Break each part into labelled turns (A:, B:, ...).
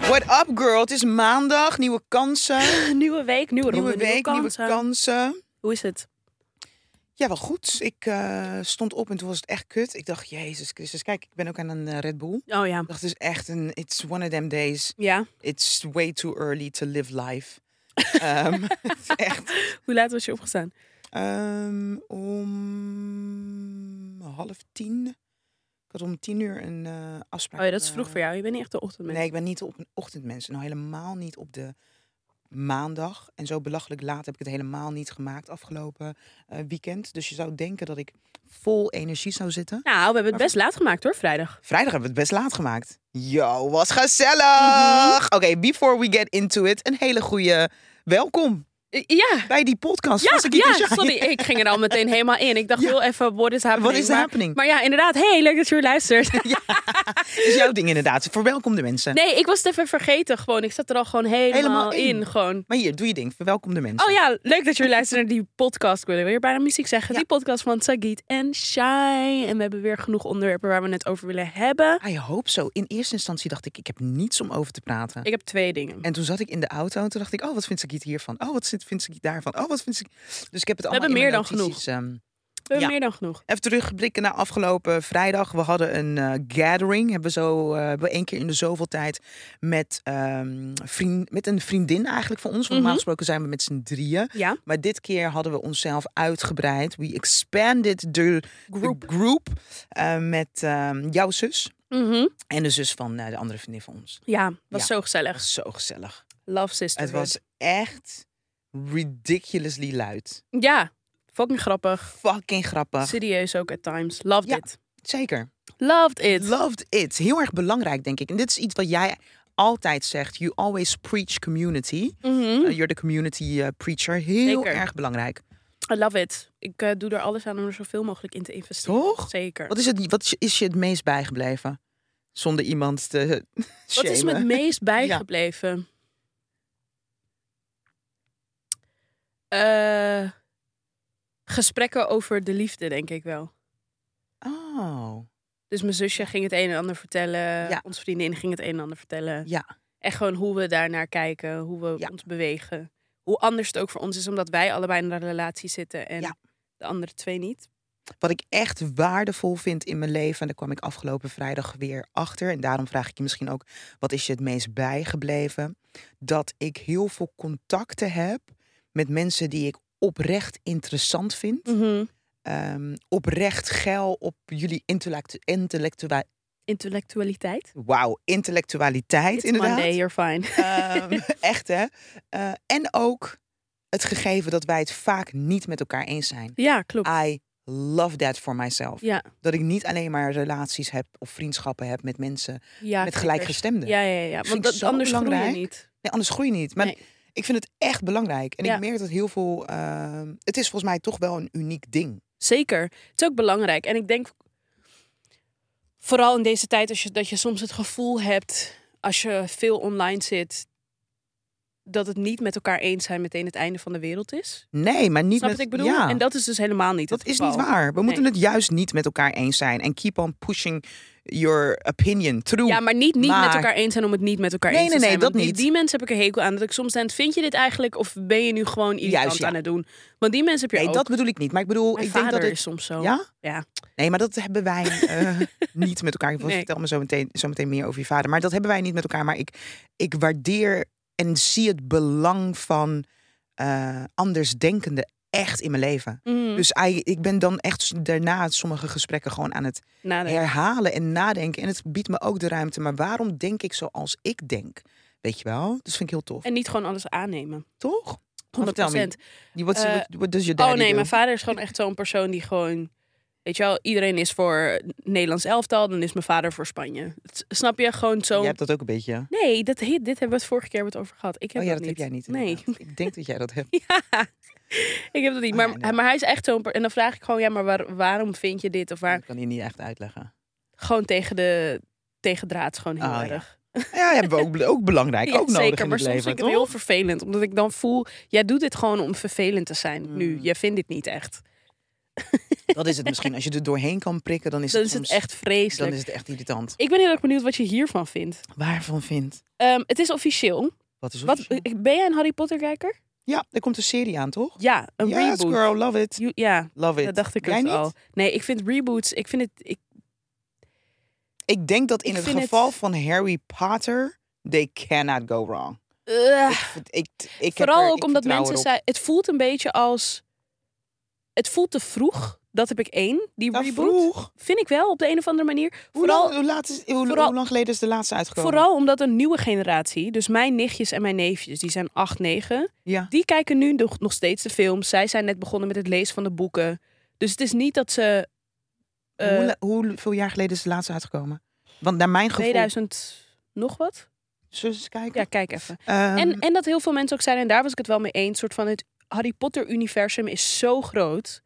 A: What up, girl? Het is maandag, nieuwe kansen.
B: Nieuwe week, nieuwe ronde,
A: nieuwe week, nieuwe
B: kansen.
A: kansen.
B: Hoe is het?
A: Ja, wel goed. Ik eh, stond op en toen was het echt kut. Ik dacht, Jezus Christus, kijk, ik ben ook aan een eh, Red Bull.
B: Oh ja.
A: Ik dacht, het is echt een, it's one of them days.
B: Ja,
A: It's way too early to live life. Ehm, echt.
B: hoe laat was je opgestaan?
A: Ehm, om half tien. Ik had om tien uur een eh, afspraak.
B: Oh ja, dat is vroeg
A: eh,
B: voor jou. Je bent niet echt de ochtendmens.
A: Nee, ik ben niet op een ochtendmens. Nou, helemaal niet op de maandag. En zo belachelijk laat heb ik het helemaal niet gemaakt afgelopen eh, weekend. Dus je zou denken dat ik vol energie zou zitten.
B: Nou, we hebben het best laat gemaakt hoor, vrijdag.
A: Vrijdag hebben we het best laat gemaakt. Yo, was gezellig!
B: Mhm.
A: Oké, before we get into it, een hele goede welkom
B: I- Ja,
A: bij die podcast.
B: ja,
A: Was ik hier
B: ja
A: dus-
B: sorry. Ik ging er al meteen helemaal in. Ik dacht,
A: Ja.
B: heel even, what is happening?
A: What is
B: Maar-
A: happening?
B: Maar, ja, inderdaad. Hey, leuk dat je weer luistert.
A: is jouw ding inderdaad. Verwelkom de mensen.
B: Nee, ik was het even vergeten gewoon. Ik zat er al gewoon helemaal,
A: Helemaal
B: in.
A: in.
B: gewoon.
A: Maar hier, doe je ding. Verwelkom de mensen.
B: Oh ja, leuk dat jullie luisteren naar die podcast. Ik wil weer bijna muziek zeggen.
A: Ja.
B: Die podcast van Sagit en Shai. En we hebben weer genoeg onderwerpen waar we het over willen hebben.
A: I hope zo. In eerste instantie dacht ik, ik heb niets om over te praten.
B: Ik heb twee dingen.
A: En toen zat ik in de auto en toen dacht ik, oh, wat vindt Sagiet hiervan? Oh, wat vindt Sagiet daarvan? Oh, wat vindt Sagiet... Dus ik heb het allemaal
B: hebben
A: in
B: meer
A: mijn
B: dan genoeg.
A: notities, ehm,
B: We hebben
A: Ja.
B: meer dan genoeg.
A: even terugblikken naar afgelopen vrijdag. We hadden een eh, gathering, hebben we zo eh, hebben we één keer in de zoveel tijd met, ehm, vriend, met een vriendin eigenlijk van ons. Want normaal
B: Mhm.
A: gesproken zijn we met z'n drieën.
B: Ja.
A: Maar dit keer hadden we onszelf uitgebreid. We expanded the the group, eh, met ehm, jouw zus
B: Mhm.
A: en de zus van eh, de andere vriendin van ons.
B: Ja, was
A: Ja.
B: zo
A: Echt
B: gezellig.
A: zo gezellig.
B: Love sister.
A: Het was echt ridiculously luid.
B: Ja, fucking grappig.
A: Fucking grappig.
B: Serieus ook at times. Loved
A: Ja.
B: it.
A: Zeker.
B: Loved it.
A: Loved it. Heel erg belangrijk, denk ik. En dit is iets wat jij altijd zegt. You always preach community.
B: Mhm.
A: Uh, you're the community eh, preacher. Heel
B: Zeker.
A: erg belangrijk.
B: I love it. Ik eh, doe er alles aan om er zoveel mogelijk in te investeren.
A: Toch?
B: Zeker.
A: Wat is, het, wat is- is je het meest bijgebleven? Zonder iemand te
B: Wat is me het
A: shamen.
B: meest bijgebleven? Eh, gesprekken over de liefde, denk ik wel.
A: Oh.
B: Dus mijn zusje ging het een en ander vertellen.
A: Ja.
B: Onze vriendin ging het een en ander vertellen.
A: Ja.
B: Echt gewoon hoe we daarnaar kijken, hoe we
A: Ja.
B: ons bewegen. Hoe anders het ook voor ons is, omdat wij allebei in een relatie zitten en
A: Ja.
B: de andere twee niet.
A: Wat ik echt waardevol vind in mijn leven, en daar kwam ik afgelopen vrijdag weer achter, en daarom vraag ik je misschien ook, wat is je het meest bijgebleven? Dat ik heel veel contacten heb met mensen die ik oprecht interessant vind,
B: Mm.
A: Ehm, oprecht geil op jullie intellectu intellectua
B: Intellectualiteit.
A: wauw, intellectualiteit
B: It's
A: inderdaad.
B: Monday, you're fine.
A: Ehm, echt hè? Eh, en ook het gegeven dat wij het vaak niet met elkaar eens zijn.
B: Ja, klopt.
A: I love that for myself
B: Ja,
A: dat ik niet alleen maar relaties heb of vriendschappen heb met mensen
B: ja,
A: met
B: zeker.
A: gelijkgestemden.
B: Ja, ja, ja.
A: Vind ik
B: Want dat,
A: zo
B: anders groei
A: belangrijk.
B: je niet.
A: Nee, anders groei je niet. Maar
B: Nee.
A: ik vind het echt belangrijk. En
B: Ja.
A: ik merk dat heel veel. ehm, het is volgens mij toch wel een uniek ding.
B: Zeker. Het is ook belangrijk. En ik denk, vooral in deze tijd, als je, dat je soms het gevoel hebt, als je veel online zit, dat het niet met elkaar eens zijn meteen het einde van de wereld is.
A: Nee, maar niet
B: Snap je
A: met.
B: wat ik bedoel?
A: Ja,
B: En dat is dus helemaal niet
A: dat
B: het
A: is niet
B: geval.
A: waar. We moeten het juist niet met elkaar eens zijn. En keep on pushing your opinion through.
B: Ja, maar niet, niet met
A: Maar-
B: elkaar eens zijn om het niet met elkaar
A: Nee,
B: eens te
A: nee, nee,
B: zijn.
A: dat
B: Want die-
A: niet.
B: Die mensen heb ik een hekel aan. Dat ik soms denk, vind je dit eigenlijk? Of ben je nu gewoon irritant
A: Juist, ja.
B: aan het doen? Want die mensen heb je
A: nee,
B: ook.
A: dat bedoel ik niet. Maar ik bedoel,
B: Mijn
A: ik
B: vader
A: denk dat het.
B: is soms zo.
A: Ja?
B: Ja.
A: Nee, maar dat hebben wij eh, niet met elkaar. Ik
B: Nee.
A: vertel me zo meteen, zo meteen meer over je vader. Maar dat hebben wij niet met elkaar. Maar ik, ik waardeer en zie het belang van eh andersdenkenden echt in mijn leven.
B: Mm,
A: Dus ei- ik ben dan echt s- daarna sommige gesprekken gewoon aan het
B: nadenken.
A: herhalen en nadenken. En het biedt me ook de ruimte. Maar waarom denk ik zoals ik denk? Weet je wel? Dus vind ik heel tof.
B: En niet gewoon alles aannemen.
A: Toch?
B: 100%.
A: Vertel me, Die- Wat
B: Eh,
A: what, what does your dus
B: Oh
A: daddy
B: nee,
A: do?
B: mijn vader is gewoon echt zo'n persoon die gewoon... Weet je wel, iedereen is voor Nederlands elftal, dan is mijn vader voor Spanje. Het- Snap je? Gewoon zo...
A: Jij hebt dat ook een beetje. hè?
B: Nee, dat, dit hebben we het vorige keer wat over gehad. Ik heb
A: Oh ja, dat
B: dat
A: heb jij niet.
B: Nee,
A: inderdaad. Ik denk dat jij dat hebt.
B: ik heb dat niet.
A: Oh
B: Maar,
A: ja, nee.
B: maar hij is echt zo'n... per- En dan vraag ik gewoon, ja, maar waar- waarom vind je dit? Of waar...
A: Dat kan hij niet echt uitleggen.
B: Gewoon tegen de tegen draad, gewoon heel
A: Oh ja.
B: erg.
A: Ja, hebben we ook, ook belangrijk.
B: Ja,
A: ook nodig
B: zeker,
A: in
B: maar
A: het
B: soms
A: leven,
B: vind ik
A: toch?
B: het heel vervelend. Omdat ik dan voel, jij doet dit gewoon om vervelend te zijn nu.
A: Mm.
B: Jij vindt dit niet echt.
A: Dat is het misschien. Als je er doorheen kan prikken, dan is
B: Dan
A: het,
B: is het
A: soms-
B: echt vreselijk.
A: Dan is het echt irritant.
B: Ik ben heel erg benieuwd wat je hiervan vindt.
A: Waarvan vindt?
B: Ehm, het is officieel.
A: Wat is
B: Wat,
A: officieel?
B: ben jij een Harry Potter kijker?
A: Ja, er komt een serie aan, toch?
B: Ja, een
A: yes,
B: reboot.
A: girl, love it.
B: You- ja,
A: Love it.
B: dat dacht ik
A: Jij
B: het
A: niet?
B: al. Nee, ik vind reboots, ik vind het, ik,
A: Ik denk dat in
B: Ik
A: het
B: vind het-
A: geval van Harry Potter, they cannot go wrong.
B: Ugh.
A: Ik, vind- ik, ik heb
B: eh, Ah. Vooral
A: er-
B: ook
A: ik
B: omdat
A: vertrouw
B: mensen
A: erop.
B: zeiden, het voelt een beetje als, het voelt te vroeg. Dat heb ik één, die
A: Nou,
B: reboot.
A: vroeg.
B: Vind ik wel, op de een of andere manier.
A: Hoe,
B: Vooral,
A: lang, hoe, laat is, hoe,
B: vooral-
A: hoe lang geleden is de laatste uitgekomen?
B: vooral omdat een nieuwe generatie, dus mijn nichtjes en mijn neefjes, die zijn acht, negen.
A: Ja.
B: Die kijken nu nog nog steeds de films. Zij zijn net begonnen met het lezen van de boeken. Dus het is niet dat ze... eh,
A: hoe, la- hoeveel jaar geleden is de laatste uitgekomen? Want naar mijn gevoel...
B: 2000 nog wat?
A: Zullen we eens kijken?
B: Ja, kijk even.
A: Ehm,
B: en, en dat heel veel mensen ook zijn, en daar was ik het wel mee eens, soort van het Harry Potter-universum is zo groot.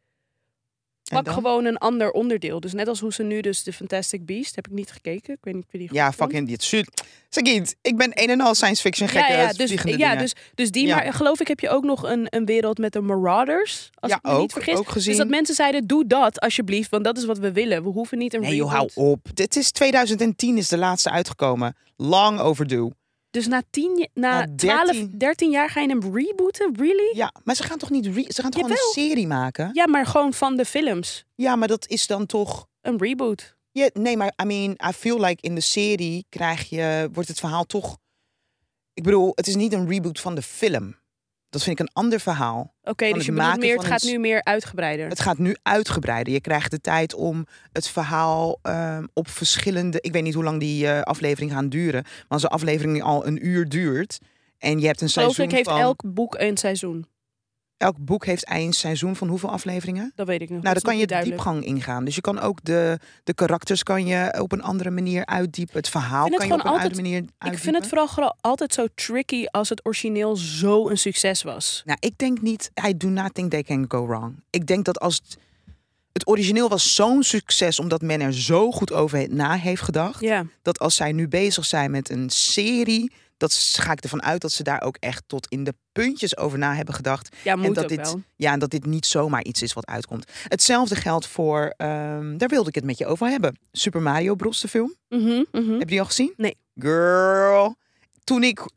B: Pak
A: dan?
B: gewoon een ander onderdeel. Dus net als hoe ze nu dus de Fantastic Beast, heb ik niet gekeken. Ik weet niet of je die
A: Ja,
B: goed vond.
A: fucking dit shit. Sagiet, ik ben een en al science fiction
B: Ja,
A: gekke
B: ja,
A: vliegende
B: dus,
A: dingen.
B: ja dus, dus die,
A: Ja.
B: maar geloof ik heb je ook nog een, een wereld met de Marauders. Als
A: Ja,
B: ik me niet
A: ook-
B: vergis.
A: ook gezien.
B: Dus dat mensen zeiden, doe dat alsjeblieft, want dat is wat we willen. We hoeven niet een
A: Nee, joh, hou
B: reboot.
A: op. Dit is 2010 is de laatste uitgekomen. Long overdue.
B: Dus na, tien, je- na,
A: Na
B: 12,
A: 13.
B: 13 jaar ga je hem rebooten? Really?
A: Ja, maar ze gaan toch niet re- ze gaan toch gewoon
B: Jawel.
A: een serie maken?
B: Ja, maar gewoon van de films.
A: Ja, maar dat is dan toch
B: Een reboot.
A: Ja, nee, maar I mean, I feel like in de serie krijg je wordt het verhaal toch Ik bedoel, het is niet een reboot van de film. Dat vind ik een ander verhaal.
B: Oké,
A: Van
B: dus
A: het
B: je bedoelt
A: maken
B: meer, het
A: van
B: gaat
A: een s-
B: nu meer uitgebreider.
A: Het gaat nu uitgebreider. Je krijgt de tijd om het verhaal ehm, op verschillende. Ik weet niet hoe lang die eh, aflevering gaan duren. Maar als de aflevering al een uur duurt. En je hebt een
B: Geloof
A: seizoen
B: ik heeft
A: van.
B: elk boek een seizoen.
A: elk boek heeft een seizoen van hoeveel afleveringen?
B: Dat weet ik nog.
A: Nou,
B: dat
A: dan
B: is nog
A: kan je
B: niet
A: de
B: duidelijk.
A: diepgang ingaan. Dus je kan ook de, de karakters kan je op een andere manier uitdiepen. Het verhaal
B: Ik vind
A: kan
B: het
A: je op een
B: gewoon
A: andere
B: altijd-
A: manier uitdiepen.
B: Ik vind het vooral gra- altijd zo tricky als het origineel zo een succes was.
A: Nou, ik denk niet. I do not think they can go wrong. Ik denk dat als het, het origineel was zo'n succes, omdat men er zo goed over na heeft gedacht.
B: Ja,
A: dat als zij nu bezig zijn met een serie, dat s- ga ik ervan uit dat ze daar ook echt tot in de puntjes over na hebben gedacht.
B: ja moet
A: en dat
B: ook
A: dit,
B: wel.
A: ja, en dat dit niet zomaar iets is wat uitkomt. Hetzelfde geldt voor, ehm, daar wilde ik het met je over hebben. Super Mario Bros. de film.
B: Mhm, mhm.
A: Heb je die al gezien?
B: Nee.
A: Girl. Toen ik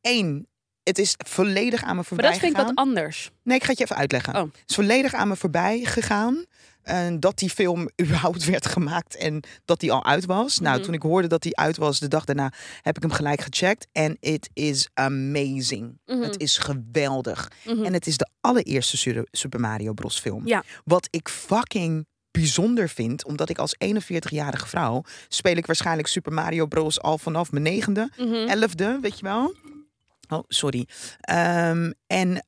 A: één. Het is volledig aan me
B: Maar
A: voorbij
B: dat vind ik
A: gegaan.
B: wat anders.
A: Nee, ik ga het je even uitleggen.
B: Oh.
A: Het is volledig aan me voorbij gegaan. eh, dat die film überhaupt werd gemaakt en dat die al uit was. Nou,
B: Mhm.
A: toen ik hoorde dat die uit was, de dag daarna heb ik hem gelijk gecheckt. En it is amazing.
B: Mhm,
A: Het is geweldig.
B: mhm.
A: En het is de allereerste Sur- Super Mario Bros. film.
B: Ja.
A: Wat ik fucking bijzonder vind, omdat ik als 41-jarige vrouw speel ik waarschijnlijk Super Mario Bros. al vanaf mijn negende
B: Mhm.
A: elfde, weet je wel. Oh, sorry. Ehm, en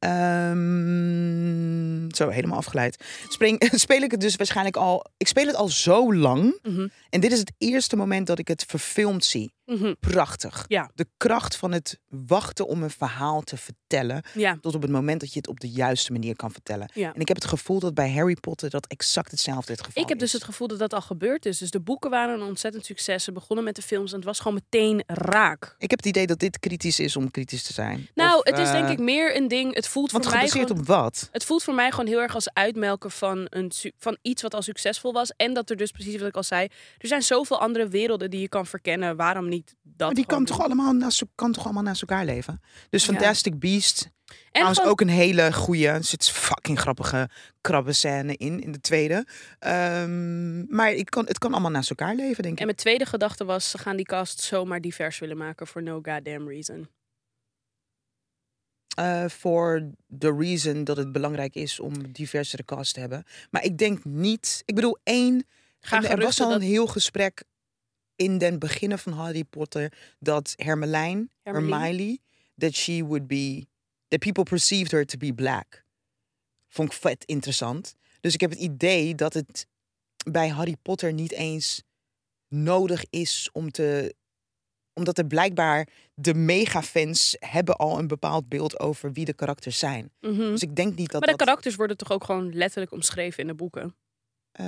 A: ehm, zo helemaal afgeleid. Spring, speel ik het dus waarschijnlijk al. Ik speel het al zo lang.
B: Mhm.
A: En dit is het eerste moment dat ik het verfilmd zie.
B: Mhm.
A: Prachtig.
B: Ja.
A: De kracht van het wachten om een verhaal te vertellen.
B: Ja,
A: Tot op het moment dat je het op de juiste manier kan vertellen.
B: Ja.
A: En ik heb het gevoel dat bij Harry Potter dat exact hetzelfde het geval
B: ik heb dus
A: is.
B: het gevoel dat dat al gebeurd is. Dus de boeken waren een ontzettend succes. Ze begonnen met de films en het was gewoon meteen raak.
A: Ik heb het idee dat dit kritisch is om kritisch te zijn.
B: Nou,
A: Of,
B: het is
A: eh,
B: denk ik meer een ding. Het voelt
A: Want
B: voor mij
A: gebaseerd
B: gewoon
A: op wat?
B: Het voelt voor mij gewoon heel erg als uitmelken van, een, su- van iets wat al succesvol was. En dat er dus precies wat ik al zei. Er zijn zoveel andere werelden die je kan verkennen. Waarom niet dat?
A: Maar die kan
B: gewoon
A: toch,
B: doen?
A: allemaal naast, kan toch allemaal naast elkaar leven? Dus
B: Ja.
A: Fantastic Beast.
B: En
A: Trouwens
B: gewoon,
A: ook een hele goeie. Er zit fucking grappige krabbenscène in, in de tweede. Ehm, maar ik kan, het kan allemaal naast elkaar leven, denk
B: en
A: ik.
B: mijn tweede gedachte was, ze gaan die cast zomaar divers willen maken voor no goddamn reason.
A: Eh, Voor the reason dat het belangrijk is om diversere cast te hebben. Maar ik denk niet... Ik bedoel, één...
B: Ga
A: er was
B: geruchten
A: al
B: dat-
A: een heel gesprek in den beginnen van Harry Potter... dat Hermelijn,
B: Hermeline.
A: Hermione, that she would be... that people perceived her to be black. Vond ik vet interessant. Dus ik heb het idee dat het bij Harry Potter niet eens nodig is om te omdat er blijkbaar de megafans hebben al een bepaald beeld over wie de karakters zijn.
B: Mhm.
A: Dus ik denk niet dat
B: maar de
A: dat...
B: karakters worden toch ook gewoon letterlijk omschreven in de boeken.
A: Eh,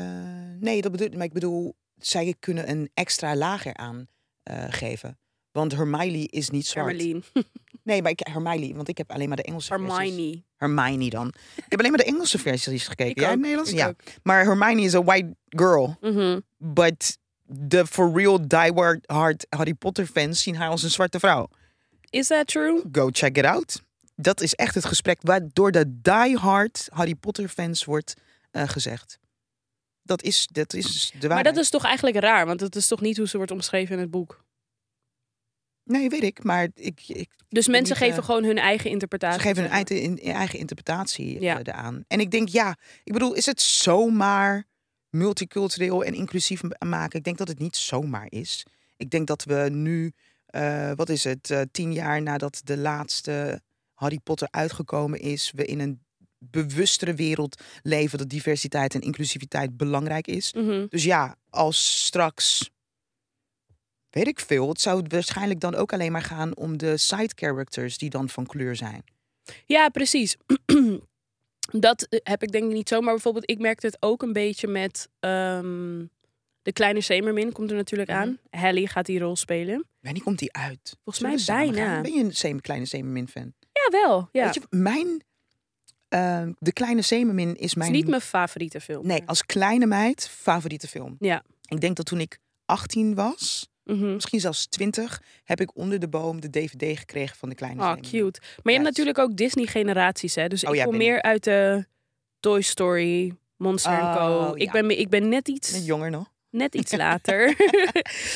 A: nee, dat bedoel ik. Maar ik bedoel, zij kunnen een extra lager aan eh, geven. Want Hermione is niet zwart.
B: Hermeline.
A: Nee, maar ik, Hermione, want ik heb alleen maar de Engelse versies.
B: Hermione.
A: Hermione dan. Ik heb alleen maar de Engelse versies gekeken.
B: Ik
A: Jij
B: ook,
A: Nederlands?
B: ik
A: Ja.
B: ook.
A: Maar Hermione is een white girl.
B: Mhm.
A: But de for real diehard Harry Potter fans zien haar als een zwarte vrouw.
B: Is that true?
A: Go check it out. Dat is echt het gesprek waardoor de diehard Harry Potter fans wordt eh, gezegd. Dat is, dat is de waarheid.
B: Maar dat is toch eigenlijk raar, want dat is toch niet hoe ze wordt omschreven in het boek.
A: Nee, weet ik. Maar ik, ik,
B: Dus mensen
A: niet, eh,
B: geven gewoon hun eigen
A: Ze
B: interpretatie.
A: geven hun eigen, in- eigen interpretatie
B: Ja.
A: eh, eraan. En ik denk, ja, ik bedoel, is het zomaar multicultureel en inclusief m- maken? Ik denk dat het niet zomaar is. Ik denk dat we nu, eh, wat is het, eh, tien jaar nadat de laatste Harry Potter uitgekomen is, we in een bewustere wereld leven dat diversiteit en inclusiviteit belangrijk is.
B: Mhm.
A: Dus ja, als straks. Weet ik veel. Het zou waarschijnlijk dan ook alleen maar gaan om de side characters die dan van kleur zijn.
B: Ja, precies. dat eh, heb ik denk ik niet zo. Maar bijvoorbeeld, ik merkte het ook een beetje met ehm, de kleine Semermin. Komt er natuurlijk
A: Mhm.
B: aan. Hallie gaat die rol spelen.
A: Wanneer komt die uit?
B: Volgens
A: Zullen
B: mij
A: we samen
B: bijna.
A: gaan? Ben je een Sem- kleine Semermin-fan?
B: Jawel. Ja.
A: Weet je, mijn... eh, de kleine Semermin is
B: Het
A: mijn...
B: is niet mijn favoriete film.
A: Nee, als kleine meid favoriete film.
B: Ja.
A: Ik denk dat toen ik 18 was,
B: Mhm.
A: misschien zelfs 20, heb ik onder de boom de DVD gekregen van de kleine
B: Ah,
A: Semermin.
B: cute. Maar je
A: Juist.
B: hebt natuurlijk ook Disney-generaties, hè? Dus
A: Oh
B: ik
A: ja,
B: kom
A: ben
B: meer uit de Toy Story, Monster Co.
A: Oh,
B: Ik,
A: ja.
B: ben, me- ik ben net iets,
A: Jonger nog.
B: net iets later.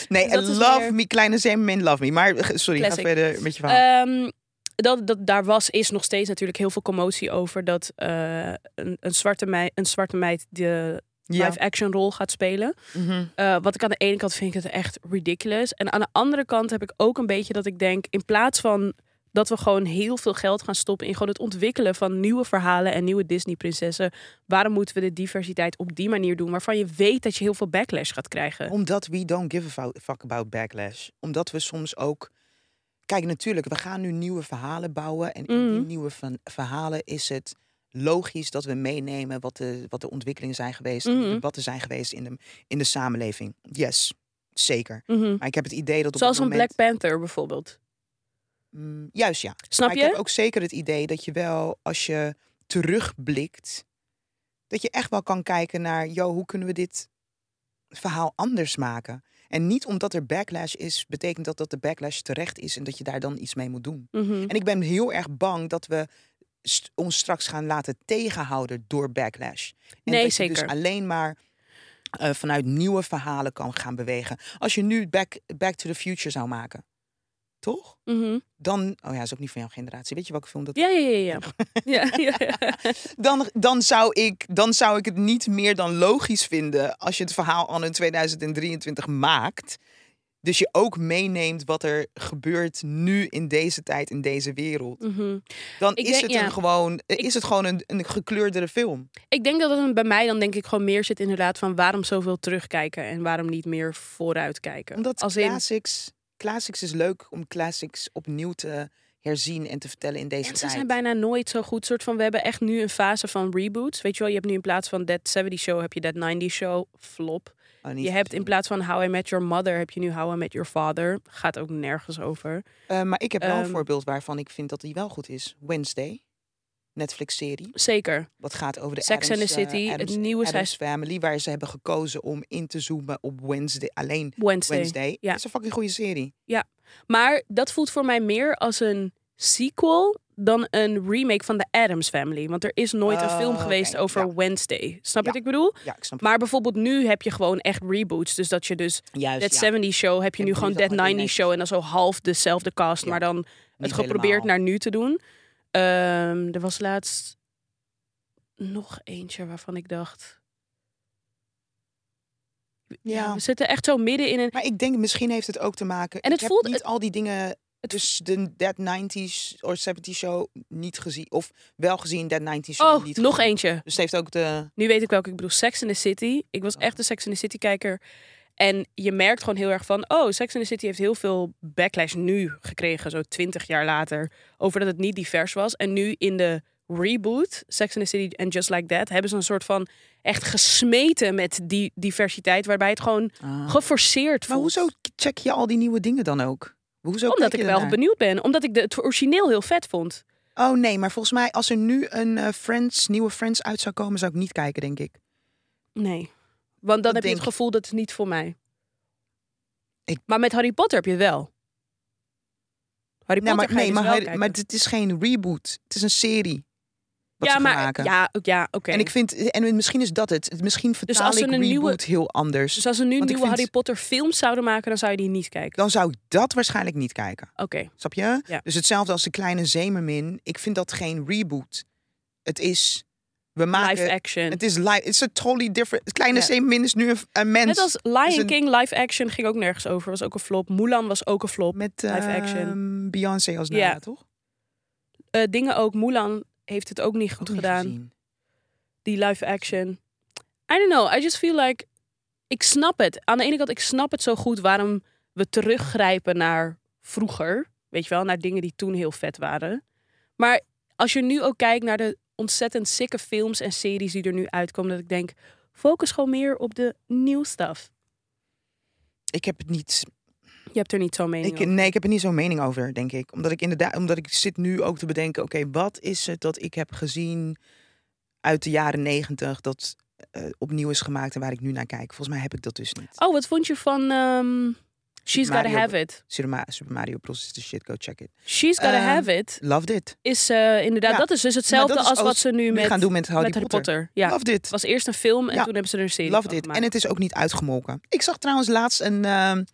A: Nee,
B: Dus dat
A: I
B: is
A: love
B: meer-
A: me, kleine Semermin, love me. Maar eh, sorry,
B: Classic.
A: ga verder met je verhaal.
B: Ehm, dat, dat, daar was, is nog steeds natuurlijk heel veel commotie over dat eh, een, een, zwarte meid, een zwarte meid de live-action rol gaat spelen.
A: Mhm.
B: Eh, wat ik aan de ene kant vind ik het echt ridiculous. En aan de andere kant heb ik ook een beetje dat ik denk, in plaats van dat we gewoon heel veel geld gaan stoppen in gewoon het ontwikkelen van nieuwe verhalen en nieuwe Disney-prinsessen, waarom moeten we de diversiteit op die manier doen waarvan je weet dat je heel veel backlash gaat krijgen?
A: Omdat we don't give a fou- fuck about backlash. Omdat we soms ook. Kijk, natuurlijk, we gaan nu nieuwe verhalen bouwen. En in die
B: Mhm.
A: nieuwe van- verhalen is het logisch dat we meenemen wat de, wat de ontwikkelingen zijn geweest. en
B: Mhm.
A: De debatten zijn geweest in de, in de samenleving. Yes, zeker.
B: Mhm.
A: Maar ik heb het idee dat op
B: Zoals
A: het
B: een
A: moment...
B: Black Panther bijvoorbeeld.
A: Mm, juist, ja.
B: Snap
A: maar
B: je?
A: ik heb ook zeker het idee dat je wel, als je terugblikt, dat je echt wel kan kijken naar, joh, hoe kunnen we dit verhaal anders maken? En niet omdat er backlash is, betekent dat dat de backlash terecht is en dat je daar dan iets mee moet doen.
B: Mhm.
A: En ik ben heel erg bang dat we st- ons straks gaan laten tegenhouden door backlash. En
B: Nee,
A: dat je
B: zeker.
A: dus alleen maar eh, vanuit nieuwe verhalen kan gaan bewegen. Als je nu Back, back to the Future zou maken, toch?
B: Mhm.
A: dan. Oh ja, is ook niet van jouw generatie. Weet je welke film dat
B: Ja, ja, ja, ja. ja, ja, ja.
A: Dan, dan, zou ik, dan zou ik het niet meer dan logisch vinden. als je het verhaal al in 2023 maakt. Dus je ook meeneemt wat er gebeurt nu in deze tijd, in deze wereld.
B: Mhm.
A: Dan
B: Ik
A: is,
B: denk-
A: het
B: ja.
A: een gewoon, eh, is het gewoon een, een gekleurdere film.
B: Ik denk dat het bij mij dan denk ik gewoon meer zit inderdaad van waarom zoveel terugkijken en waarom niet meer vooruitkijken.
A: Omdat
B: Als in,
A: classics, classics is leuk om classics opnieuw te herzien en te vertellen in deze
B: en ze
A: tijd.
B: zijn bijna nooit zo goed. Soort van, we hebben echt nu een fase van reboots. Weet je wel, je hebt nu in plaats van That 70 Show heb je That 90 Show, flop.
A: Oh, niet
B: Je hebt in
A: gezien.
B: plaats van How I Met Your Mother heb je nu How I Met Your Father. Gaat ook nergens over.
A: Eh, maar ik heb wel
B: Ehm.
A: een voorbeeld waarvan ik vind dat die wel goed is. Wednesday, Netflix-serie.
B: Zeker.
A: Wat gaat over de
B: Sex and
A: Addams,
B: the
A: eh,
B: City, het
A: Addams-
B: nieuwe
A: Addams Family, waar ze hebben gekozen om in te zoomen op Wednesday. Alleen
B: Wednesday.
A: Wednesday.
B: ja.
A: is een fucking goede serie.
B: Maar dat voelt voor mij meer als een sequel dan een remake van de Addams Family. Want er is nooit een
A: Oh,
B: film geweest
A: oké,
B: over
A: ja.
B: Wednesday. Snap je
A: Ja.
B: wat ik bedoel?
A: Ja, ik snap
B: Maar bijvoorbeeld nu heb je gewoon echt reboots. Dus dat je dus
A: het. Juist,
B: That
A: ja.
B: 70 Show heb je
A: En
B: nu
A: doe
B: gewoon
A: dat
B: That
A: maar in
B: 90 Show. En dan zo half dezelfde cast,
A: Ja,
B: maar dan het
A: Niet
B: geprobeerd
A: helemaal.
B: naar nu te doen. Ehm, er was laatst nog eentje waarvan ik dacht...
A: Ja.
B: We zitten echt zo midden in een...
A: Maar ik denk, misschien heeft het ook te maken...
B: En het
A: ik
B: voelt-
A: heb niet
B: het-
A: al die dingen...
B: het-
A: dus de Dead 90s of 70 show niet gezien. Of wel gezien, Dead 90s show
B: Oh,
A: niet
B: nog
A: gezien.
B: eentje.
A: Dus het heeft ook de...
B: Nu weet ik welke ik bedoel. Sex in the City. Ik was echt een Sex in the City kijker. En je merkt gewoon heel erg van... Oh, Sex in the City heeft heel veel backlash nu gekregen. Zo twintig jaar later. Over dat het niet divers was. En nu in de reboot, Sex in the City en Just Like That... hebben ze een soort van echt gesmeten met die diversiteit. Waarbij het gewoon geforceerd
A: Ah. Maar
B: voelt.
A: hoezo check je al die nieuwe dingen dan ook? Hoezo
B: Omdat
A: kijk
B: ik
A: je
B: wel
A: daarnaar?
B: benieuwd ben. Omdat ik de, het origineel heel vet vond.
A: Oh nee, maar volgens mij als er nu een eh, Friends, nieuwe Friends uit zou komen, zou ik niet kijken, denk ik.
B: Nee. Want dan
A: Dat
B: heb je
A: denk
B: het gevoel dat het niet voor mij.
A: Ik-
B: Maar met Harry Potter heb je het wel. Harry
A: Nee,
B: Potter
A: Nou, maar,
B: ga je
A: nee,
B: dus
A: maar,
B: wel
A: hij-
B: kijken.
A: maar het is geen reboot. Het is een serie. Wat
B: ja,
A: ze gaan
B: maar
A: maken.
B: ja, ook- ja, oké. Dus
A: En ik vind, en misschien is dat het. Misschien vertaal
B: als ze
A: ik
B: een
A: reboot
B: nieuwe-
A: heel anders.
B: Dus als ze nu
A: Want ik
B: nieuwe
A: vind-
B: Harry Potter films zouden maken, dan zou je die niet kijken.
A: Dan zou ik dat waarschijnlijk niet kijken.
B: Oké.
A: Snap je?
B: Ja.
A: Dus hetzelfde als de kleine Zemermin. Ik vind dat geen reboot. Het is. We maken.
B: Live action.
A: Het is live. Het is een totally different. Het kleine
B: Ja.
A: Zemermin is nu een, een mens.
B: Net als
A: is
B: Lion
A: een-
B: King live action ging ook nergens over. Was ook een flop. Mulan was ook een flop.
A: Met
B: live action.
A: ehm, Beyoncé als
B: Ja.
A: Nala, toch?
B: Eh, dingen ook. Mulan heeft het ook niet
A: Ook
B: goed
A: niet
B: gedaan.
A: gezien.
B: Die live action. I don't know. I just feel like... Ik snap het. Aan de ene kant, ik snap het zo goed waarom we teruggrijpen naar vroeger. Weet je wel, naar dingen die toen heel vet waren. Maar als je nu ook kijkt naar de ontzettend sikke films en series die er nu uitkomen. Dat ik denk, focus gewoon meer op de nieuw stuff.
A: Ik heb het niet.
B: Je hebt er niet zo'n mening
A: Ik,
B: over.
A: nee, ik heb er niet zo'n mening over, denk ik. Omdat ik inderdaad, omdat ik zit nu ook te bedenken, oké, wat is het dat ik heb gezien uit de jaren negentig dat eh, opnieuw is gemaakt en waar ik nu naar kijk? Volgens mij heb ik dat dus niet.
B: Oh, wat vond je van ehm, She's Gotta
A: Mario-
B: Have It?
A: Super Ma- Super Mario Bros is de shit, go check it.
B: She's Gotta
A: Ehm,
B: Have It
A: Loved it.
B: is eh, inderdaad,
A: Ja,
B: dat is dus hetzelfde
A: dat is
B: als wat
A: als
B: ze nu
A: Nu
B: met,
A: gaan doen met Harry,
B: met Harry Potter. Ja,
A: Loved it.
B: het was eerst een film en
A: Ja,
B: toen hebben ze er een serie
A: Loved
B: van
A: it.
B: gemaakt.
A: En het is ook niet uitgemolken. Ik zag trouwens laatst een, ehm,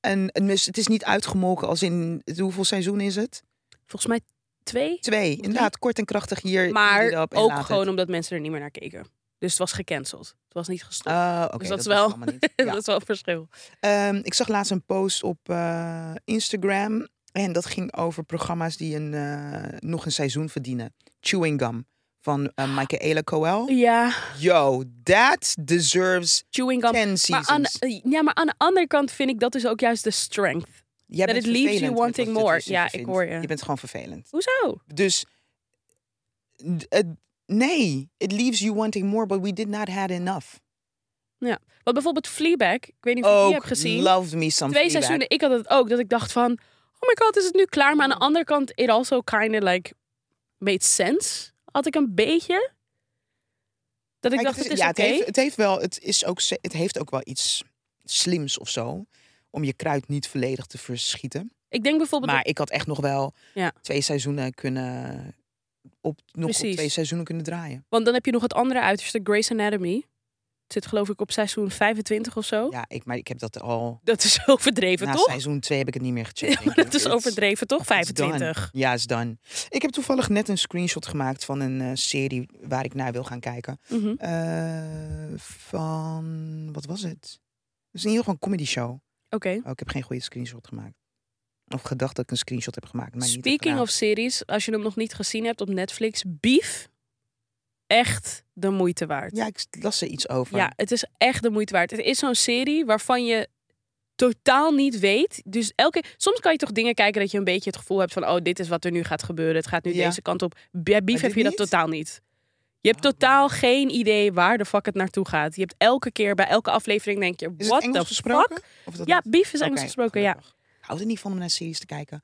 A: een, een mis- het is niet uitgemolken als in, hoeveel seizoen is het?
B: Volgens mij twee,
A: Twee. Inderdaad, kort en krachtig hier. eat it
B: maar
A: up en
B: ook
A: laat het.
B: gewoon omdat mensen er niet meer naar keken. Dus het was gecanceld. Het was niet gestopt.
A: Ah, oké,
B: Dus
A: dat wist
B: dat is
A: ik
B: wel-
A: allemaal niet. Oh, Ja.
B: dat is wel een verschil.
A: Ehm, ik zag laatst een post op eh, Instagram. En dat ging over programma's die een, eh, nog een seizoen verdienen. Chewing Gum van
B: Ah.
A: eh Michaela Coel.
B: Ja,
A: Yo, that deserves
B: chewing gum.
A: 10
B: Maar aan,
A: seasons.
B: ja, maar aan de andere kant vind ik dat is ook juist de strength.
A: Jij
B: that
A: bent
B: it leaves you
A: vervelend met
B: wanting
A: wat je
B: more.
A: tussen
B: Ja, ik
A: vindt.
B: hoor je.
A: Je bent gewoon vervelend.
B: Hoezo?
A: Dus, d- het- nee, it leaves you wanting more, but we did not had enough.
B: Want bijvoorbeeld Fleabag, ik weet niet of je die hebt
A: Ook
B: gezien.
A: loved me some
B: twee
A: Fleabag.
B: seizoenen, ik had het ook, dat ik dacht van, oh my god, is het nu klaar? Maar aan
A: Oh.
B: de andere kant, it also kind of like made sense. Had ik een beetje. Dat ik
A: Kijk,
B: dacht, het
A: het
B: is,
A: ja,
B: oké.
A: het, heeft, het heeft wel, het is ook, ze- het heeft ook wel iets slims of zo om je kruid niet volledig te verschieten.
B: Ik denk bijvoorbeeld,
A: Maar ik had echt nog wel
B: Ja.
A: twee seizoenen kunnen op nog op
B: Precies.
A: twee seizoenen kunnen draaien.
B: want dan heb je nog het andere uiterste, Grey's Anatomy. Het zit geloof ik op seizoen 25 of zo.
A: Ja, ik, maar ik heb dat al
B: Dat is overdreven,
A: na
B: Oh. toch?
A: seizoen 2 heb ik het niet meer gecheckt. denk ik.
B: Dat is
A: It's-
B: overdreven, toch?
A: it's done.
B: 25.
A: Ja, is dan. Ik heb toevallig net een screenshot gemaakt van een eh, serie waar ik naar wil gaan kijken.
B: Mhm.
A: Eh, van wat was het? Het is in ieder geval een comedy show.
B: Oké.
A: Oh, ik heb geen goede screenshot gemaakt. Of gedacht dat ik een screenshot heb gemaakt. Maar niet heb
B: Speaking
A: gedaan.
B: of series, als je hem nog niet gezien hebt op Netflix, Beef, echt de moeite waard.
A: Ja, ik las er iets over.
B: Ja, het is echt de moeite waard. Het is zo'n serie waarvan je totaal niet weet. Dus elke soms kan je toch dingen kijken dat je een beetje het gevoel hebt van oh dit is wat er nu gaat gebeuren. Het gaat nu
A: Ja.
B: deze kant op. Bij Beef
A: dit
B: heb je dat
A: niet?
B: totaal niet. Je hebt
A: Oh.
B: totaal geen idee waar de fuck het naartoe gaat. Je hebt elke keer bij elke aflevering denk je
A: Is
B: what
A: het Engels
B: the
A: gesproken?
B: fuck?
A: Of dat
B: Ja,
A: niet?
B: Beef is Engels
A: Oké,
B: gesproken, ja.
A: gelukkig. Ik hou er niet van om naar series te kijken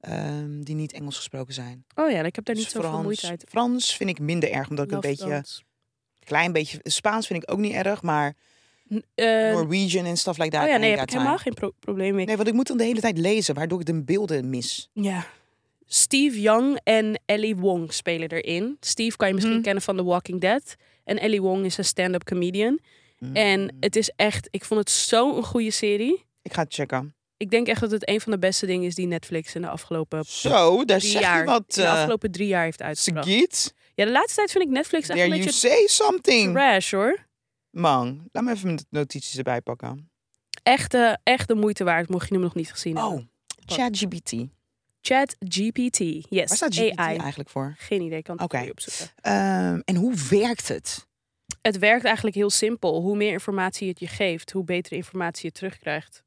A: ehm, die niet Engels gesproken zijn.
B: Oh ja, ik heb daar
A: Dus
B: niet zoveel
A: Frans-
B: moeite uit.
A: Frans vind ik minder erg, omdat ik
B: Love
A: een beetje,
B: Frans.
A: klein beetje... Spaans vind ik ook niet erg, maar
B: N- eh,
A: Norwegian en stuff like that.
B: oh ja,
A: I
B: nee,
A: ain't
B: heb
A: got
B: ik helemaal
A: time.
B: geen pro- probleem mee.
A: Nee, want ik moet dan de hele tijd lezen, waardoor ik de beelden mis.
B: Ja. Steve Young en Ellie Wong spelen erin. Steve kan je misschien
A: Hmm.
B: kennen van The Walking Dead. En Ellie Wong is een stand-up comedian.
A: Mhm.
B: En het is echt, ik vond het zo'n goede serie.
A: Ik ga het checken.
B: Ik denk echt dat het een van de beste dingen is die Netflix in de afgelopen
A: Zo, daar
B: drie
A: Eh, zeg
B: jaar,
A: je wat,
B: in de
A: eh
B: afgelopen drie jaar heeft uitgebracht.
A: Sagiet.
B: Ja, de laatste tijd vind ik Netflix echt
A: There
B: een
A: you
B: beetje
A: say something.
B: trash hoor.
A: Man, laat me even mijn notities erbij pakken.
B: Echt, eh, echt de moeite waard, mocht je hem nog niet gezien hebben.
A: Oh, ChatGPT.
B: Chat GPT. Yes,
A: Waar staat GPT
B: AI.
A: eigenlijk voor?
B: Geen idee, ik kan het
A: Oké.
B: voor je opzoeken.
A: Ehm, en hoe werkt het?
B: het werkt eigenlijk heel simpel. Hoe meer informatie het je geeft, hoe betere informatie je terugkrijgt.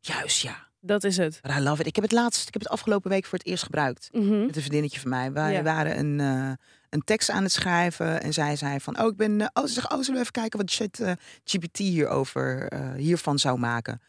A: Juist ja.
B: Dat is het.
A: But I love it. Ik heb het laatst, ik heb het afgelopen week voor het eerst gebruikt. Met een vriendinnetje van mij. Wij
B: Mhm. Ja.
A: waren een, eh, een tekst aan het schrijven. En zij zei van, oh, ik ben... eh, oh, ze zegt, oh, zullen we even kijken wat ChatGPT hierover, eh, hiervan eh, zou maken?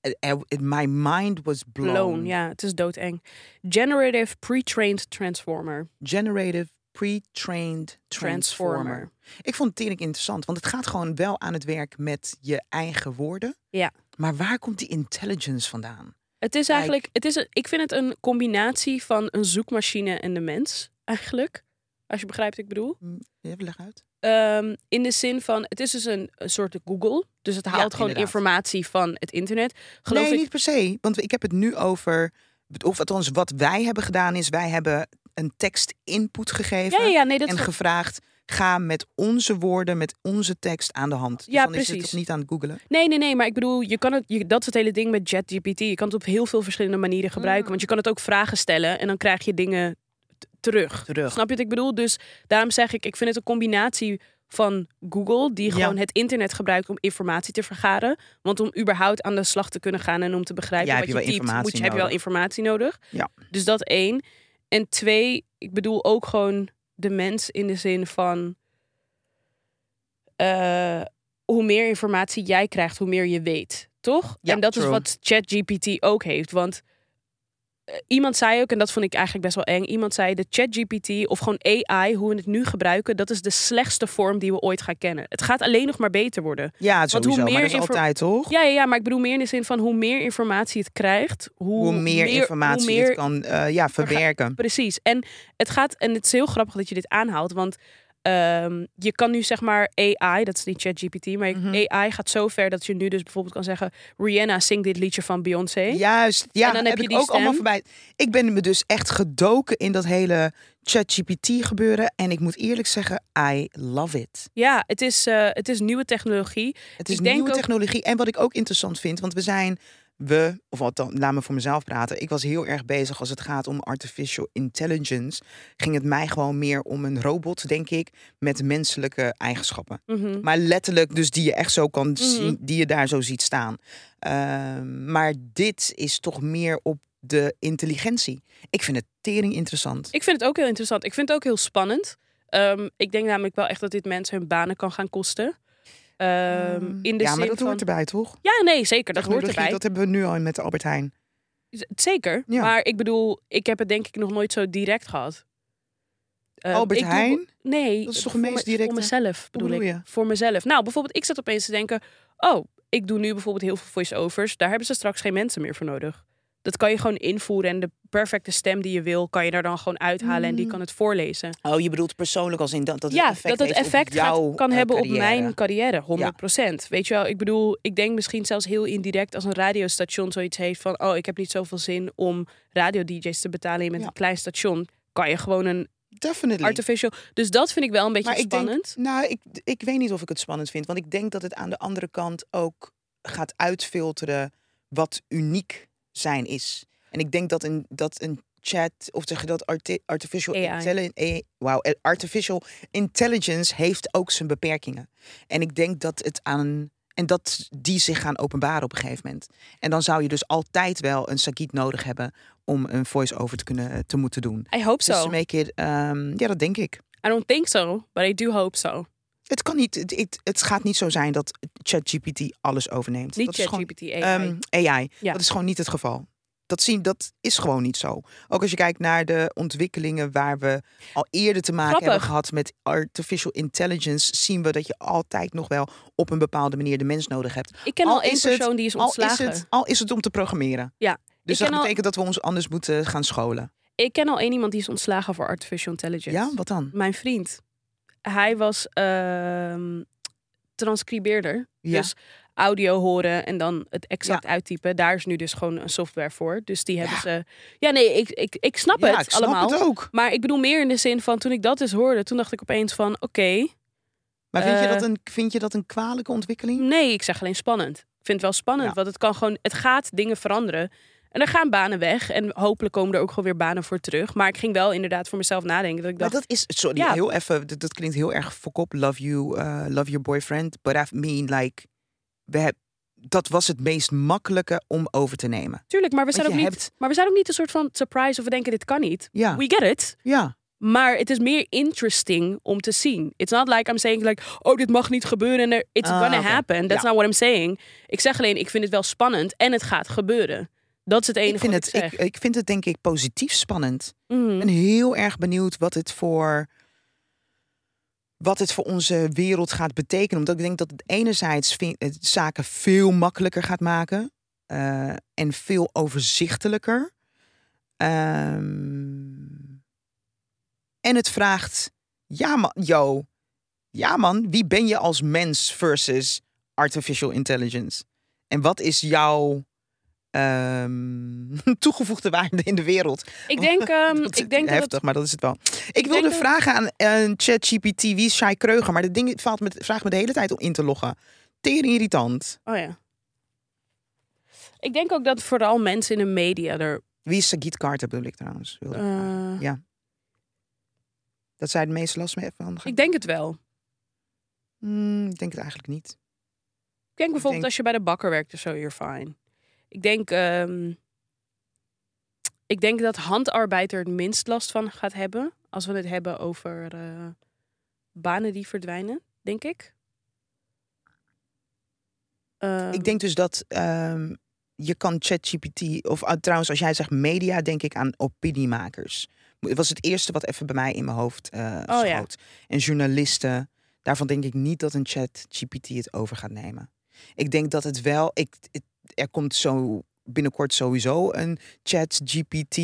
A: eh, eh, my mind was blown.
B: Blown, ja, het is doodeng. Generative Pre-Trained Transformer.
A: Generative pre-trained transformer.
B: Transformer.
A: Ik vond het tering interessant, want het gaat gewoon wel aan het werk met je eigen woorden.
B: Ja.
A: Maar waar komt die intelligence vandaan?
B: Het is
A: Kijk.
B: eigenlijk, het is, een- ik vind het een combinatie van een zoekmachine en de mens, eigenlijk. Als je begrijpt wat ik bedoel.
A: Ja, leg uit.
B: Ehm, in de zin van, het is dus een, een soort Google. Dus het
A: Ja,
B: haalt gewoon
A: inderdaad.
B: informatie van het internet. Geloof
A: nee,
B: ik,
A: niet per se. Want ik heb het nu over. Of althans, wat wij hebben gedaan is, wij hebben een tekst input gegeven.
B: ja, ja, ja, nee, dat
A: en
B: ge-
A: gevraagd. Ga met onze woorden, met onze tekst aan de hand. Dus
B: Ja,
A: dan is het
B: precies.
A: toch niet aan het googelen.
B: Nee, nee, nee, maar ik bedoel, je kan het, je, dat is het hele ding met ChatGPT. Je kan het op heel veel verschillende manieren gebruiken.
A: Mm.
B: Want je kan het ook vragen stellen en dan krijg je dingen t- terug.
A: Terug.
B: Snap je wat ik bedoel? Dus daarom zeg ik, ik vind het een combinatie van Google, die
A: Ja.
B: gewoon het internet gebruikt om informatie te vergaren. Want om überhaupt aan de slag te kunnen gaan en om te begrijpen
A: Ja,
B: wat
A: heb je wel
B: typt,
A: informatie
B: moet je, heb je wel
A: nodig.
B: informatie nodig.
A: Ja.
B: Dus dat één. En twee, ik bedoel ook gewoon de mens in de zin van... eh, hoe meer informatie jij krijgt, hoe meer je weet. Toch?
A: Ja,
B: en dat is
A: true.
B: wat ChatGPT ook heeft. Want eh, iemand zei ook, en dat vond ik eigenlijk best wel eng. Iemand zei de ChatGPT of gewoon AI, hoe we het nu gebruiken, dat is de slechtste vorm die we ooit gaan kennen. Het gaat alleen nog maar beter worden.
A: Ja,
B: hoe
A: sowieso.
B: meer
A: maar dat is
B: info-
A: altijd toch?
B: Ja, ja, ja, maar ik bedoel meer in de zin van hoe meer informatie het krijgt, hoe,
A: hoe meer informatie
B: hoe meer
A: het kan eh, ja, verwerken.
B: Precies. En het gaat, en het is heel grappig dat je dit aanhaalt, want ehm, je kan nu zeg maar AI, dat is niet ChatGPT, maar je-
A: Mhm.
B: AI gaat zo ver dat je nu dus bijvoorbeeld kan zeggen: Rihanna zingt dit liedje van Beyoncé.
A: Juist, ja,
B: En dan heb
A: heb
B: je
A: ik
B: die
A: ook allemaal
B: stem.
A: voorbij. Ik ben me dus echt gedoken in dat hele ChatGPT gebeuren. En ik moet eerlijk zeggen, I love it.
B: Ja, het is, eh, het is nieuwe technologie.
A: Het is
B: Ik denk
A: nieuwe
B: ook-
A: technologie. En wat ik ook interessant vind, want we zijn, we, of althans, laat me voor mezelf praten. Ik was heel erg bezig als het gaat om artificial intelligence. Ging het mij gewoon meer om een robot, denk ik, met menselijke eigenschappen.
B: Mhm.
A: Maar letterlijk, dus die je echt zo kan zien,
B: Mhm.
A: die je daar zo ziet staan. Ehm, maar dit is toch meer op de intelligentie. Ik vind het tering interessant.
B: Ik vind het ook heel interessant. Ik vind het ook heel spannend. Ehm, ik denk namelijk wel echt dat dit mensen hun banen kan gaan kosten. Ehm, in de
A: Mm. ja,
B: zin
A: maar dat
B: van...
A: hoort erbij, toch?
B: Ja, nee, zeker. Dat hoort
A: Technologie,
B: erbij. Ehm,
A: Dat hebben we nu al met Albert Heijn.
B: Z- Zeker.
A: Ja.
B: Maar ik bedoel, ik heb het denk ik nog nooit zo direct gehad. Ehm,
A: Albert
B: ik doe-
A: Heijn?
B: nee.
A: Dat is toch
B: voor
A: het meest
B: me-
A: directe?
B: Voor mezelf bedoel,
A: bedoel
B: ik.
A: je?
B: Voor mezelf. Nou, bijvoorbeeld, ik zat opeens te denken... Oh, ik doe nu bijvoorbeeld heel veel voice-overs. Daar hebben ze straks geen mensen meer voor nodig. Dat kan je gewoon invoeren. En de perfecte stem die je wil, kan je daar dan gewoon uithalen. En die
A: Mm.
B: kan het voorlezen.
A: Oh, je bedoelt persoonlijk als in dat, dat
B: ja, dat het effect gaat-
A: eh,
B: kan hebben op mijn carrière, 100%. Weet je wel, ik bedoel, ik denk misschien zelfs heel indirect als een radiostation zoiets heeft van: oh, ik heb niet zoveel zin om radio-DJ's te betalen. Je bent
A: Ja.
B: een klein station, kan je gewoon een
A: Definitely.
B: artificial. Dus dat vind ik wel een beetje
A: maar ik
B: spannend.
A: denk, nou, ik, ik weet niet of ik het spannend vind. Want ik denk dat het aan de andere kant ook gaat uitfilteren wat uniek zijn is. En ik denk dat een, dat een chat, of zeg je dat arti- artificial,
B: AI.
A: intelli- eh, wauw, eh, artificial intelligence heeft ook zijn beperkingen. En ik denk dat het aan. En dat die zich gaan openbaren op een gegeven moment. En dan zou je dus altijd wel een sagiet nodig hebben om een voice-over te kunnen te moeten doen.
B: I hope
A: Dus
B: so.
A: to make it, ehm, ja, dat denk ik.
B: I don't think so, but I do hope so.
A: Het kan niet. Het, het, het gaat niet zo zijn dat ChatGPT alles overneemt.
B: Niet
A: dat is gewoon-
B: ChatGPT AI.
A: Ehm, AI.
B: Ja.
A: Dat is gewoon niet het geval. Dat, zien, dat is gewoon niet zo. Ook als je kijkt naar de ontwikkelingen waar we al eerder te maken hebben
B: Grappig.
A: gehad met artificial intelligence, zien we dat je altijd nog wel op een bepaalde manier de mens nodig hebt.
B: ik ken
A: al
B: al, één
A: is het-
B: persoon die is
A: Al is,
B: ontslagen.
A: het, al is het om te programmeren.
B: Ja,
A: Dus dat
B: ik ken al-
A: betekent dat we ons anders moeten gaan scholen.
B: Ik ken al één iemand die is ontslagen voor artificial intelligence.
A: Ja, wat dan?
B: Mijn vriend. Hij was ehm, transcribeerder.
A: Ja.
B: Dus audio horen en dan het exact uittypen. Daar is nu dus gewoon een software voor. Dus die hebben
A: Ja.
B: ze. Ja, nee, ik, ik, ik snap
A: ja,
B: het
A: ik snap
B: allemaal.
A: het ook.
B: Maar ik bedoel meer in de zin van toen ik dat eens hoorde, toen dacht ik opeens van oké,
A: Maar vind, je
B: Eh.
A: dat een, vind je dat een kwalijke ontwikkeling?
B: nee, ik zeg alleen spannend. Ik vind het wel spannend,
A: Ja.
B: want het kan gewoon, het gaat dingen veranderen. En er gaan banen weg en hopelijk komen er ook gewoon weer banen voor terug. Maar ik ging wel inderdaad voor mezelf nadenken dat ik
A: Maar
B: dacht,
A: dat is, sorry,
B: Ja.
A: heel even, dat, dat klinkt heel erg fokop. Love you, eh, love your boyfriend. But I mean, like, we heb, dat was het meest makkelijke om over te nemen.
B: tuurlijk, maar we
A: Want
B: zijn ook
A: je
B: niet,
A: hebt-
B: maar we zijn ook niet een soort van surprise of we denken dit kan niet.
A: Ja,
B: We get it.
A: ja.
B: Maar het is meer interesting om te zien. It's not like I'm saying like, oh, dit mag niet gebeuren. en er- It's
A: Ah,
B: gonna
A: oké.
B: happen. That's
A: Ja.
B: not what I'm saying. Ik zeg alleen, ik vind het wel spannend en het gaat gebeuren. Dat is het enige
A: Ik vind,
B: wat
A: het,
B: ik zeg.
A: ik, ik vind het denk ik positief spannend.
B: Mhm.
A: Ik ben heel erg benieuwd wat het voor wat het voor onze wereld gaat betekenen. Omdat ik denk dat het enerzijds vi- het zaken veel makkelijker gaat maken eh, en veel overzichtelijker. Ehm, en het vraagt, ja man, yo, ja man, wie ben je als mens versus artificial intelligence? En wat is jouw ehm, toegevoegde waarde in de wereld?
B: Ik denk, ehm,
A: Dat is
B: ik denk dat
A: heftig,
B: het-
A: maar dat is het wel. Ik wilde
B: denk dat-
A: vragen aan eh, ChatGPT, wie is Shai Kreuger? Maar dat ding valt met, vraagt me de hele tijd om in te loggen. Tering irritant.
B: Oh ja. Ik denk ook dat vooral mensen in de media er...
A: Wie is Sagit Carter bedoel ik trouwens? wilde ik vragen.
B: eh,
A: Dat zij het meeste last mee heeft van.
B: ik denk het wel.
A: Hmm, ik denk het eigenlijk niet.
B: Ik denk bijvoorbeeld
A: denk-
B: als je bij de bakker werkt of zo, you're fine. Ik denk, ehm, ik denk dat handarbeid er het minst last van gaat hebben. Als we het hebben over eh, banen die verdwijnen, denk ik. Ehm,
A: Ik denk dus dat ehm, je kan ChatGPT, of ah, trouwens als jij zegt media, denk ik aan opiniemakers. Mo- Het was het eerste wat even bij mij in mijn hoofd eh
B: Oh, ja.
A: schoot. En journalisten, daarvan denk ik niet dat een ChatGPT het over gaat nemen. Ik denk dat het wel, ik, het- er komt zo binnenkort sowieso een ChatGPT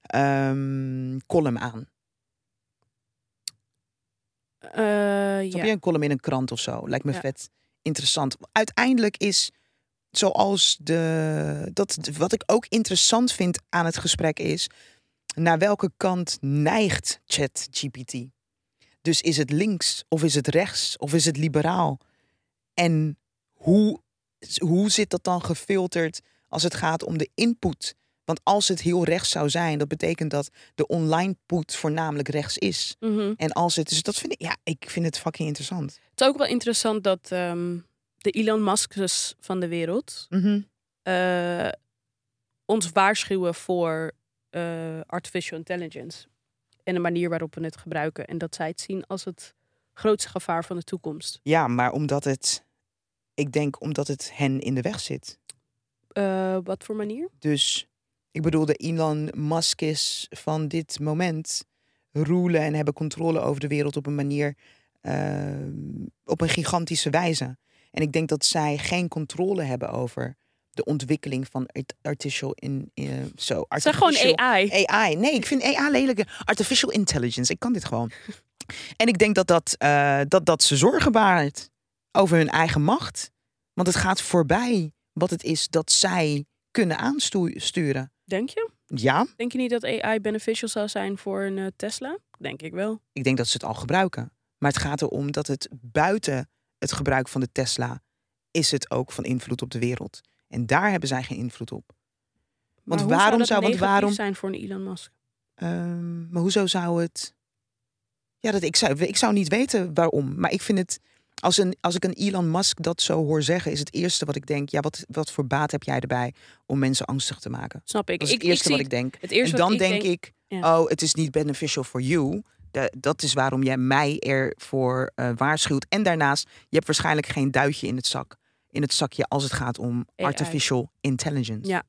A: ehm, column aan.
B: eh,
A: Snap
B: ja.
A: je? Een column in een krant of zo. Lijkt me
B: Ja.
A: vet interessant. Uiteindelijk is zoals de... Dat, wat ik ook interessant vind aan het gesprek is... naar welke kant neigt ChatGPT? Dus is het links of is het rechts of is het liberaal? En hoe, hoe zit dat dan gefilterd als het gaat om de input? Want als het heel rechts zou zijn, dat betekent dat de online put voornamelijk rechts is.
B: Mhm.
A: En als het, dus dat vind ik, ja, ik vind het fucking interessant.
B: Het is ook wel interessant dat ehm, de Elon Musk's van de wereld... eh, ons waarschuwen voor eh, artificial intelligence. En de manier waarop we het gebruiken. En dat zij het zien als het grootste gevaar van de toekomst.
A: Ja, maar omdat het, ik denk omdat het hen in de weg zit.
B: Eh, wat voor manier?
A: Dus ik bedoel, de Elon Musk is van dit moment roelen en hebben controle over de wereld op een manier, eh, op een gigantische wijze. En ik denk dat zij geen controle hebben over de ontwikkeling van art- artificial in, eh, zo.
B: Het zijn gewoon
A: artificial-
B: AI.
A: AI. Nee, ik vind AI lelijk. Artificial intelligence. Ik kan dit gewoon. En ik denk dat dat, eh, dat, dat ze zorgen baart over hun eigen macht. Want het gaat voorbij wat het is dat zij kunnen aansturen.
B: Denk je?
A: Ja,
B: Denk je niet dat AI beneficial zou zijn voor een eh, Tesla? Denk ik wel.
A: ik denk dat ze het al gebruiken. Maar het gaat erom dat het buiten het gebruik van de Tesla is het ook van invloed op de wereld. En daar hebben zij geen invloed op.
B: Maar
A: Want
B: hoe
A: waarom
B: zou, dat
A: zou- want
B: negatief
A: waarom-
B: zijn voor een Elon Musk?
A: Ehm, maar hoezo zou het. Ja, dat, ik, zou, ik zou niet weten waarom. Maar ik vind het. Als, een, als ik een Elon Musk dat zo hoor zeggen, is het eerste wat ik denk. Ja, wat, wat voor baat heb jij erbij om mensen angstig te maken?
B: Snap ik.
A: Dat is
B: ik,
A: het eerste
B: ik
A: wat
B: zie
A: ik denk.
B: het eerste
A: en dan
B: wat ik
A: denk, ik,
B: ja.
A: oh, het is niet beneficial for you. Da- dat is waarom jij mij ervoor eh waarschuwt. En daarnaast, je hebt waarschijnlijk geen duitje in het zak. In het zakje als het gaat om
B: AI.
A: artificial intelligence.
B: Ja.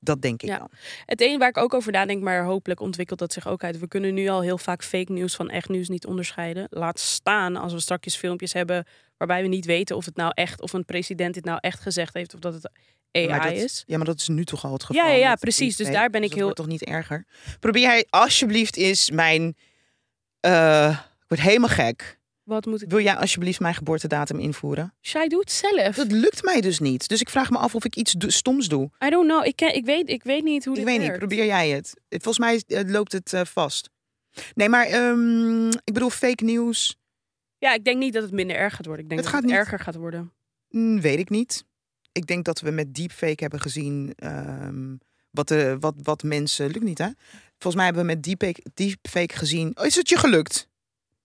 A: Dat denk ik
B: Ja.
A: dan.
B: Het een waar ik ook over nadenk, maar hopelijk ontwikkelt dat zich ook uit. We kunnen nu al heel vaak fake nieuws van echt nieuws niet onderscheiden. Laat staan als we straks filmpjes hebben waarbij we niet weten of het nou echt, of een president dit nou echt gezegd heeft of dat het AI
A: Maar dat-
B: is.
A: Ja, maar dat is nu toch al het
B: Ja,
A: geval.
B: ja, ja,
A: met
B: precies. Dus
A: deepfake,
B: daar ben ik
A: dat
B: heel-
A: wordt toch niet erger? Probeer jij alsjeblieft eens mijn... eh, ik word helemaal gek.
B: Wat moet ik.
A: Wil jij alsjeblieft mijn geboortedatum invoeren?
B: Zij doet het zelf.
A: Dat lukt mij dus niet. Dus ik vraag me af of ik iets do- stoms doe.
B: I don't know. Ik, ken, ik, weet, ik weet niet hoe
A: ik
B: dit
A: weet niet,
B: werkt.
A: probeer jij het. Het- Volgens mij eh, loopt het eh, vast. Nee, maar ehm, ik bedoel fake nieuws,
B: Ja, ik denk niet dat het minder erg gaat worden. Ik denk
A: Het
B: dat
A: gaat
B: het
A: niet.
B: erger gaat worden.
A: hm, weet ik niet. Ik denk dat we met deepfake hebben gezien ehm, wat, de, wat, wat mensen... Lukt niet, hè? Volgens mij hebben we met deepfake, deepfake gezien... Oh, is het je gelukt?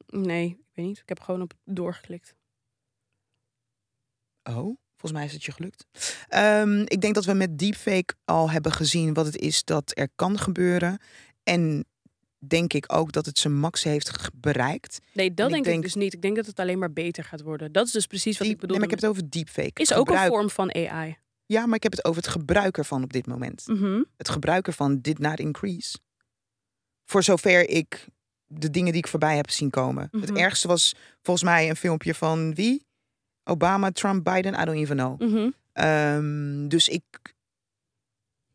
B: Nee, ik weet niet. Ik heb gewoon op doorgeklikt.
A: Oh, volgens mij is het je gelukt. Ehm, ik denk dat we met deepfake al hebben gezien wat het is dat er kan gebeuren. En denk ik ook dat het zijn max heeft ge- bereikt.
B: Nee, dat
A: ik
B: denk, ik
A: denk-
B: dus niet. Ik denk dat het alleen maar beter gaat worden. Dat is dus precies wat
A: Die-
B: ik bedoel.
A: nee, maar ik heb het over deepfake.
B: Is
A: Het
B: ook
A: gebruik-
B: een vorm van AI.
A: Ja, maar ik heb het over het gebruik ervan op dit moment.
B: Mhm.
A: Het gebruik ervan did not increase. Voor zover ik de dingen die ik voorbij heb zien komen.
B: Mhm.
A: Het ergste was volgens mij een filmpje van wie? Obama, Trump, Biden, I don't even know.
B: Mhm.
A: Ehm, dus ik,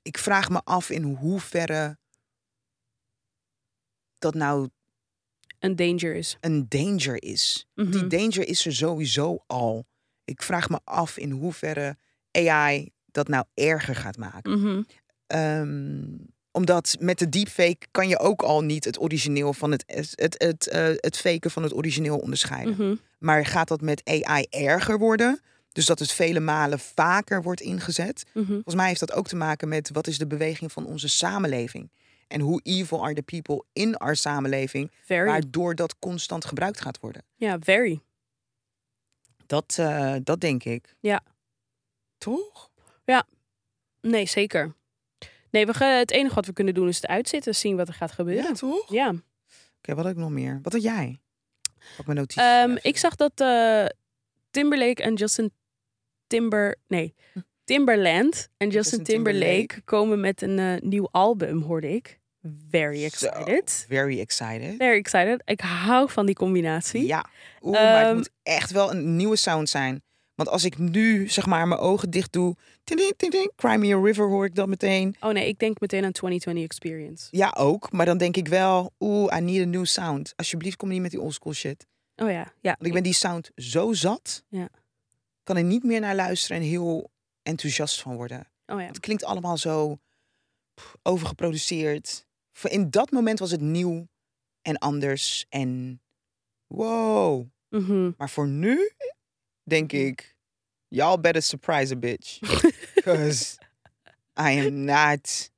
A: ik vraag me af in hoeverre dat nou
B: Een danger is.
A: een danger is.
B: Mhm.
A: Die danger is er sowieso al. Ik vraag me af in hoeverre AI dat nou erger gaat maken.
B: Mhm.
A: Ehm, omdat met de deepfake kan je ook al niet het origineel van het, het, het, het, eh, het faken van het origineel onderscheiden.
B: Mhm.
A: Maar gaat dat met AI erger worden? Dus dat het vele malen vaker wordt ingezet?
B: Mhm.
A: Volgens mij heeft dat ook te maken met wat is de beweging van onze samenleving. En hoe evil are the people in our samenleving,
B: Very.
A: waardoor dat constant gebruikt gaat worden.
B: Ja, very.
A: Dat, eh, dat denk ik.
B: Ja.
A: Toch?
B: Nee, zeker. Nee, we, gaan- het enige wat we kunnen doen is het uitzitten. Zien wat er gaat gebeuren.
A: Ja, toch? Oké,
B: Ja.
A: wat had ik nog meer? Wat had jij? Pak mijn notities.
B: Ehm,
A: even.
B: ik zag dat eh, Timberlake en Justin Timber... Nee, Timberland en Justin
A: Hm. Justin
B: Timberlake,
A: Timberlake.
B: komen met een eh, nieuw album, hoorde ik. Very
A: Zo,
B: excited.
A: very excited.
B: Very excited. Ik hou van die combinatie.
A: Ja. Oeh, maar
B: Ehm,
A: het moet echt wel een nieuwe sound zijn. Want als ik nu, zeg maar, mijn ogen dicht doe... Ting, ting, ting, ting, Cry Me a River hoor ik dan meteen.
B: Oh nee, ik denk meteen aan 2020 Experience.
A: Ja, ook. Maar dan denk ik wel, oeh, I need a new sound. Alsjeblieft, kom niet met die oldschool shit.
B: Oh ja, ja.
A: Want ik ben die sound zo zat.
B: Ja.
A: Kan er niet meer naar luisteren en heel enthousiast van worden.
B: Oh ja.
A: Het klinkt allemaal zo pff, overgeproduceerd. Voor- In dat moment was het nieuw en anders en wow.
B: Mhm.
A: Maar voor nu denk ik, y'all better surprise a bitch. Because I am not,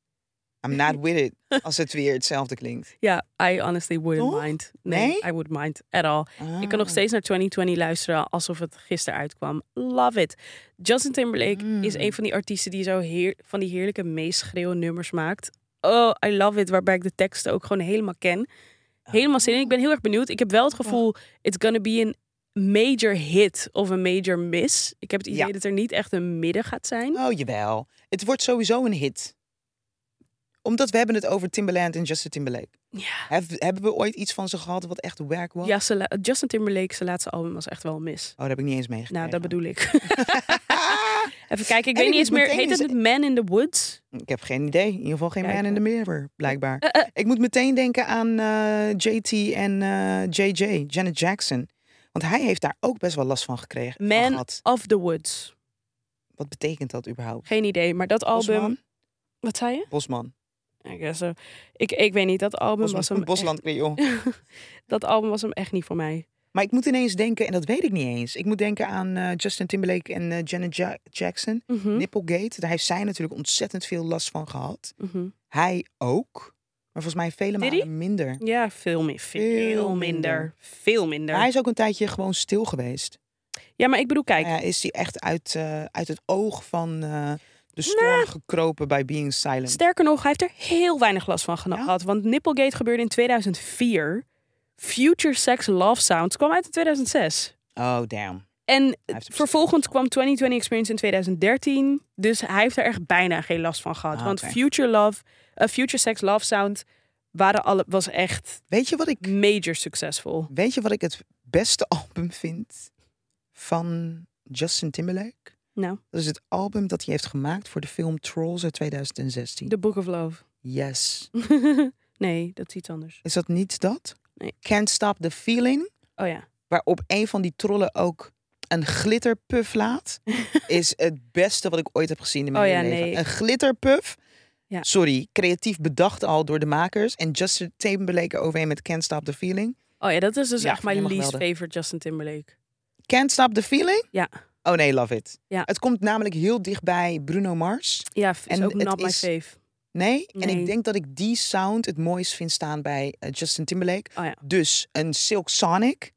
A: I'm not with it. Als het weer hetzelfde klinkt.
B: Ja, I honestly wouldn't
A: Toch?
B: mind. Nee,
A: Nee?
B: I wouldn't mind at all. Ik kan nog
A: Ah.
B: steeds naar 2020 luisteren alsof het gisteren uitkwam. Love it. Justin Timberlake is
A: Mm.
B: een van die artiesten die zo heer, van die heerlijke meeschreeuwen nummers maakt. Oh, I love it. Waarbij ik de teksten ook gewoon helemaal ken. Helemaal zin in.
A: Oh.
B: Ik ben heel erg benieuwd. Ik heb wel het gevoel, it's gonna be een major hit of een major miss. Ik heb het idee
A: Ja.
B: dat er niet echt een midden gaat zijn.
A: Oh jawel. Het wordt sowieso een hit. Omdat we hebben het over Timbaland en Justin Timberlake.
B: Ja,
A: Hef- hebben we ooit iets van ze gehad wat echt wack was?
B: ja zijn la- Justin Timberlake, zijn laatste album was echt wel een miss.
A: Oh, dat heb ik niet eens meegekregen.
B: Nou, dat bedoel ik.
A: Ah,
B: Even kijken, ik
A: En
B: weet
A: ik
B: niet eens
A: moet
B: meer.
A: meteen
B: Heet het
A: eens-
B: het Man in the Woods?
A: ik heb geen idee. In ieder geval geen
B: Kijk,
A: man in
B: hè.
A: the mirror, blijkbaar.
B: Eh, eh,
A: Ik moet meteen denken aan eh, JT en eh, JJ, Janet Jackson. Want hij heeft daar ook best wel last van gekregen. van
B: Man
A: gehad.
B: of the Woods.
A: Wat betekent dat überhaupt?
B: Geen idee, maar dat album.
A: Bosman?
B: Wat zei je?
A: Bosman.
B: I guess so. Ik, ik weet niet, dat album was
A: Bosman.
B: hem. eh.
A: Bosland Creole.
B: echt- dat album was hem echt niet voor mij.
A: Maar ik moet ineens denken, en dat weet ik niet eens. Ik moet denken aan eh, Justin Timberlake en eh, Janet Ja- Jackson.
B: Mhm,
A: Nipplegate, daar heeft zij natuurlijk ontzettend veel last van gehad.
B: mhm.
A: Hij ook. Maar volgens mij vele
B: Did
A: malen minder.
B: Ja, veel, meer, veel
A: Veel
B: minder.
A: minder.
B: Veel minder.
A: Maar hij is ook een tijdje gewoon stil geweest.
B: Ja, maar ik bedoel, kijk.
A: Eh, is hij echt uit, eh, uit het oog van eh, de storm gekropen bij Being Silent.
B: Sterker nog, hij heeft er heel weinig last van gena-
A: Ja?
B: gehad. Want Nipplegate gebeurde in 2004. Future Sex Love Sounds kwam uit in 2006.
A: oh, damn.
B: En
A: heeft er
B: vervolgens kwam 2020 Experience in 2013. Dus hij heeft er echt bijna geen last van gehad.
A: Ah,
B: want
A: oké.
B: Future Love, eh, Future Sex Love Sound waren alle, was echt
A: Weet je, wat ik,
B: major succesvol.
A: weet je wat ik het beste album vind van Justin Timberlake?
B: Nou,
A: Dat is het album dat hij heeft gemaakt voor de film Trolls uit 2016.
B: The Book of Love.
A: Yes.
B: nee, dat is iets anders.
A: Is dat niet dat?
B: Nee.
A: Can't Stop the Feeling,
B: Oh ja.
A: waarop een van die trollen ook een glitterpuff laat, is het beste wat ik ooit heb gezien in mijn
B: Oh
A: hele
B: ja,
A: leven.
B: nee.
A: Een glitterpuff.
B: Ja.
A: Sorry, creatief bedacht al door de makers. En Justin Timberlake overheen met Can't Stop the Feeling.
B: Oh ja, dat is dus
A: Ja,
B: echt mijn
A: helemaal
B: least
A: geweldig.
B: favorite Justin Timberlake.
A: Can't Stop the Feeling?
B: Ja.
A: Oh nee, love it.
B: Ja.
A: Het komt namelijk heel dichtbij Bruno Mars.
B: Ja, is
A: En
B: ook
A: het
B: not my
A: is-
B: fave.
A: Nee? En
B: Nee.
A: ik denk dat ik die sound het mooist vind staan bij eh, Justin Timberlake.
B: Oh ja.
A: Dus een Silk Sonic.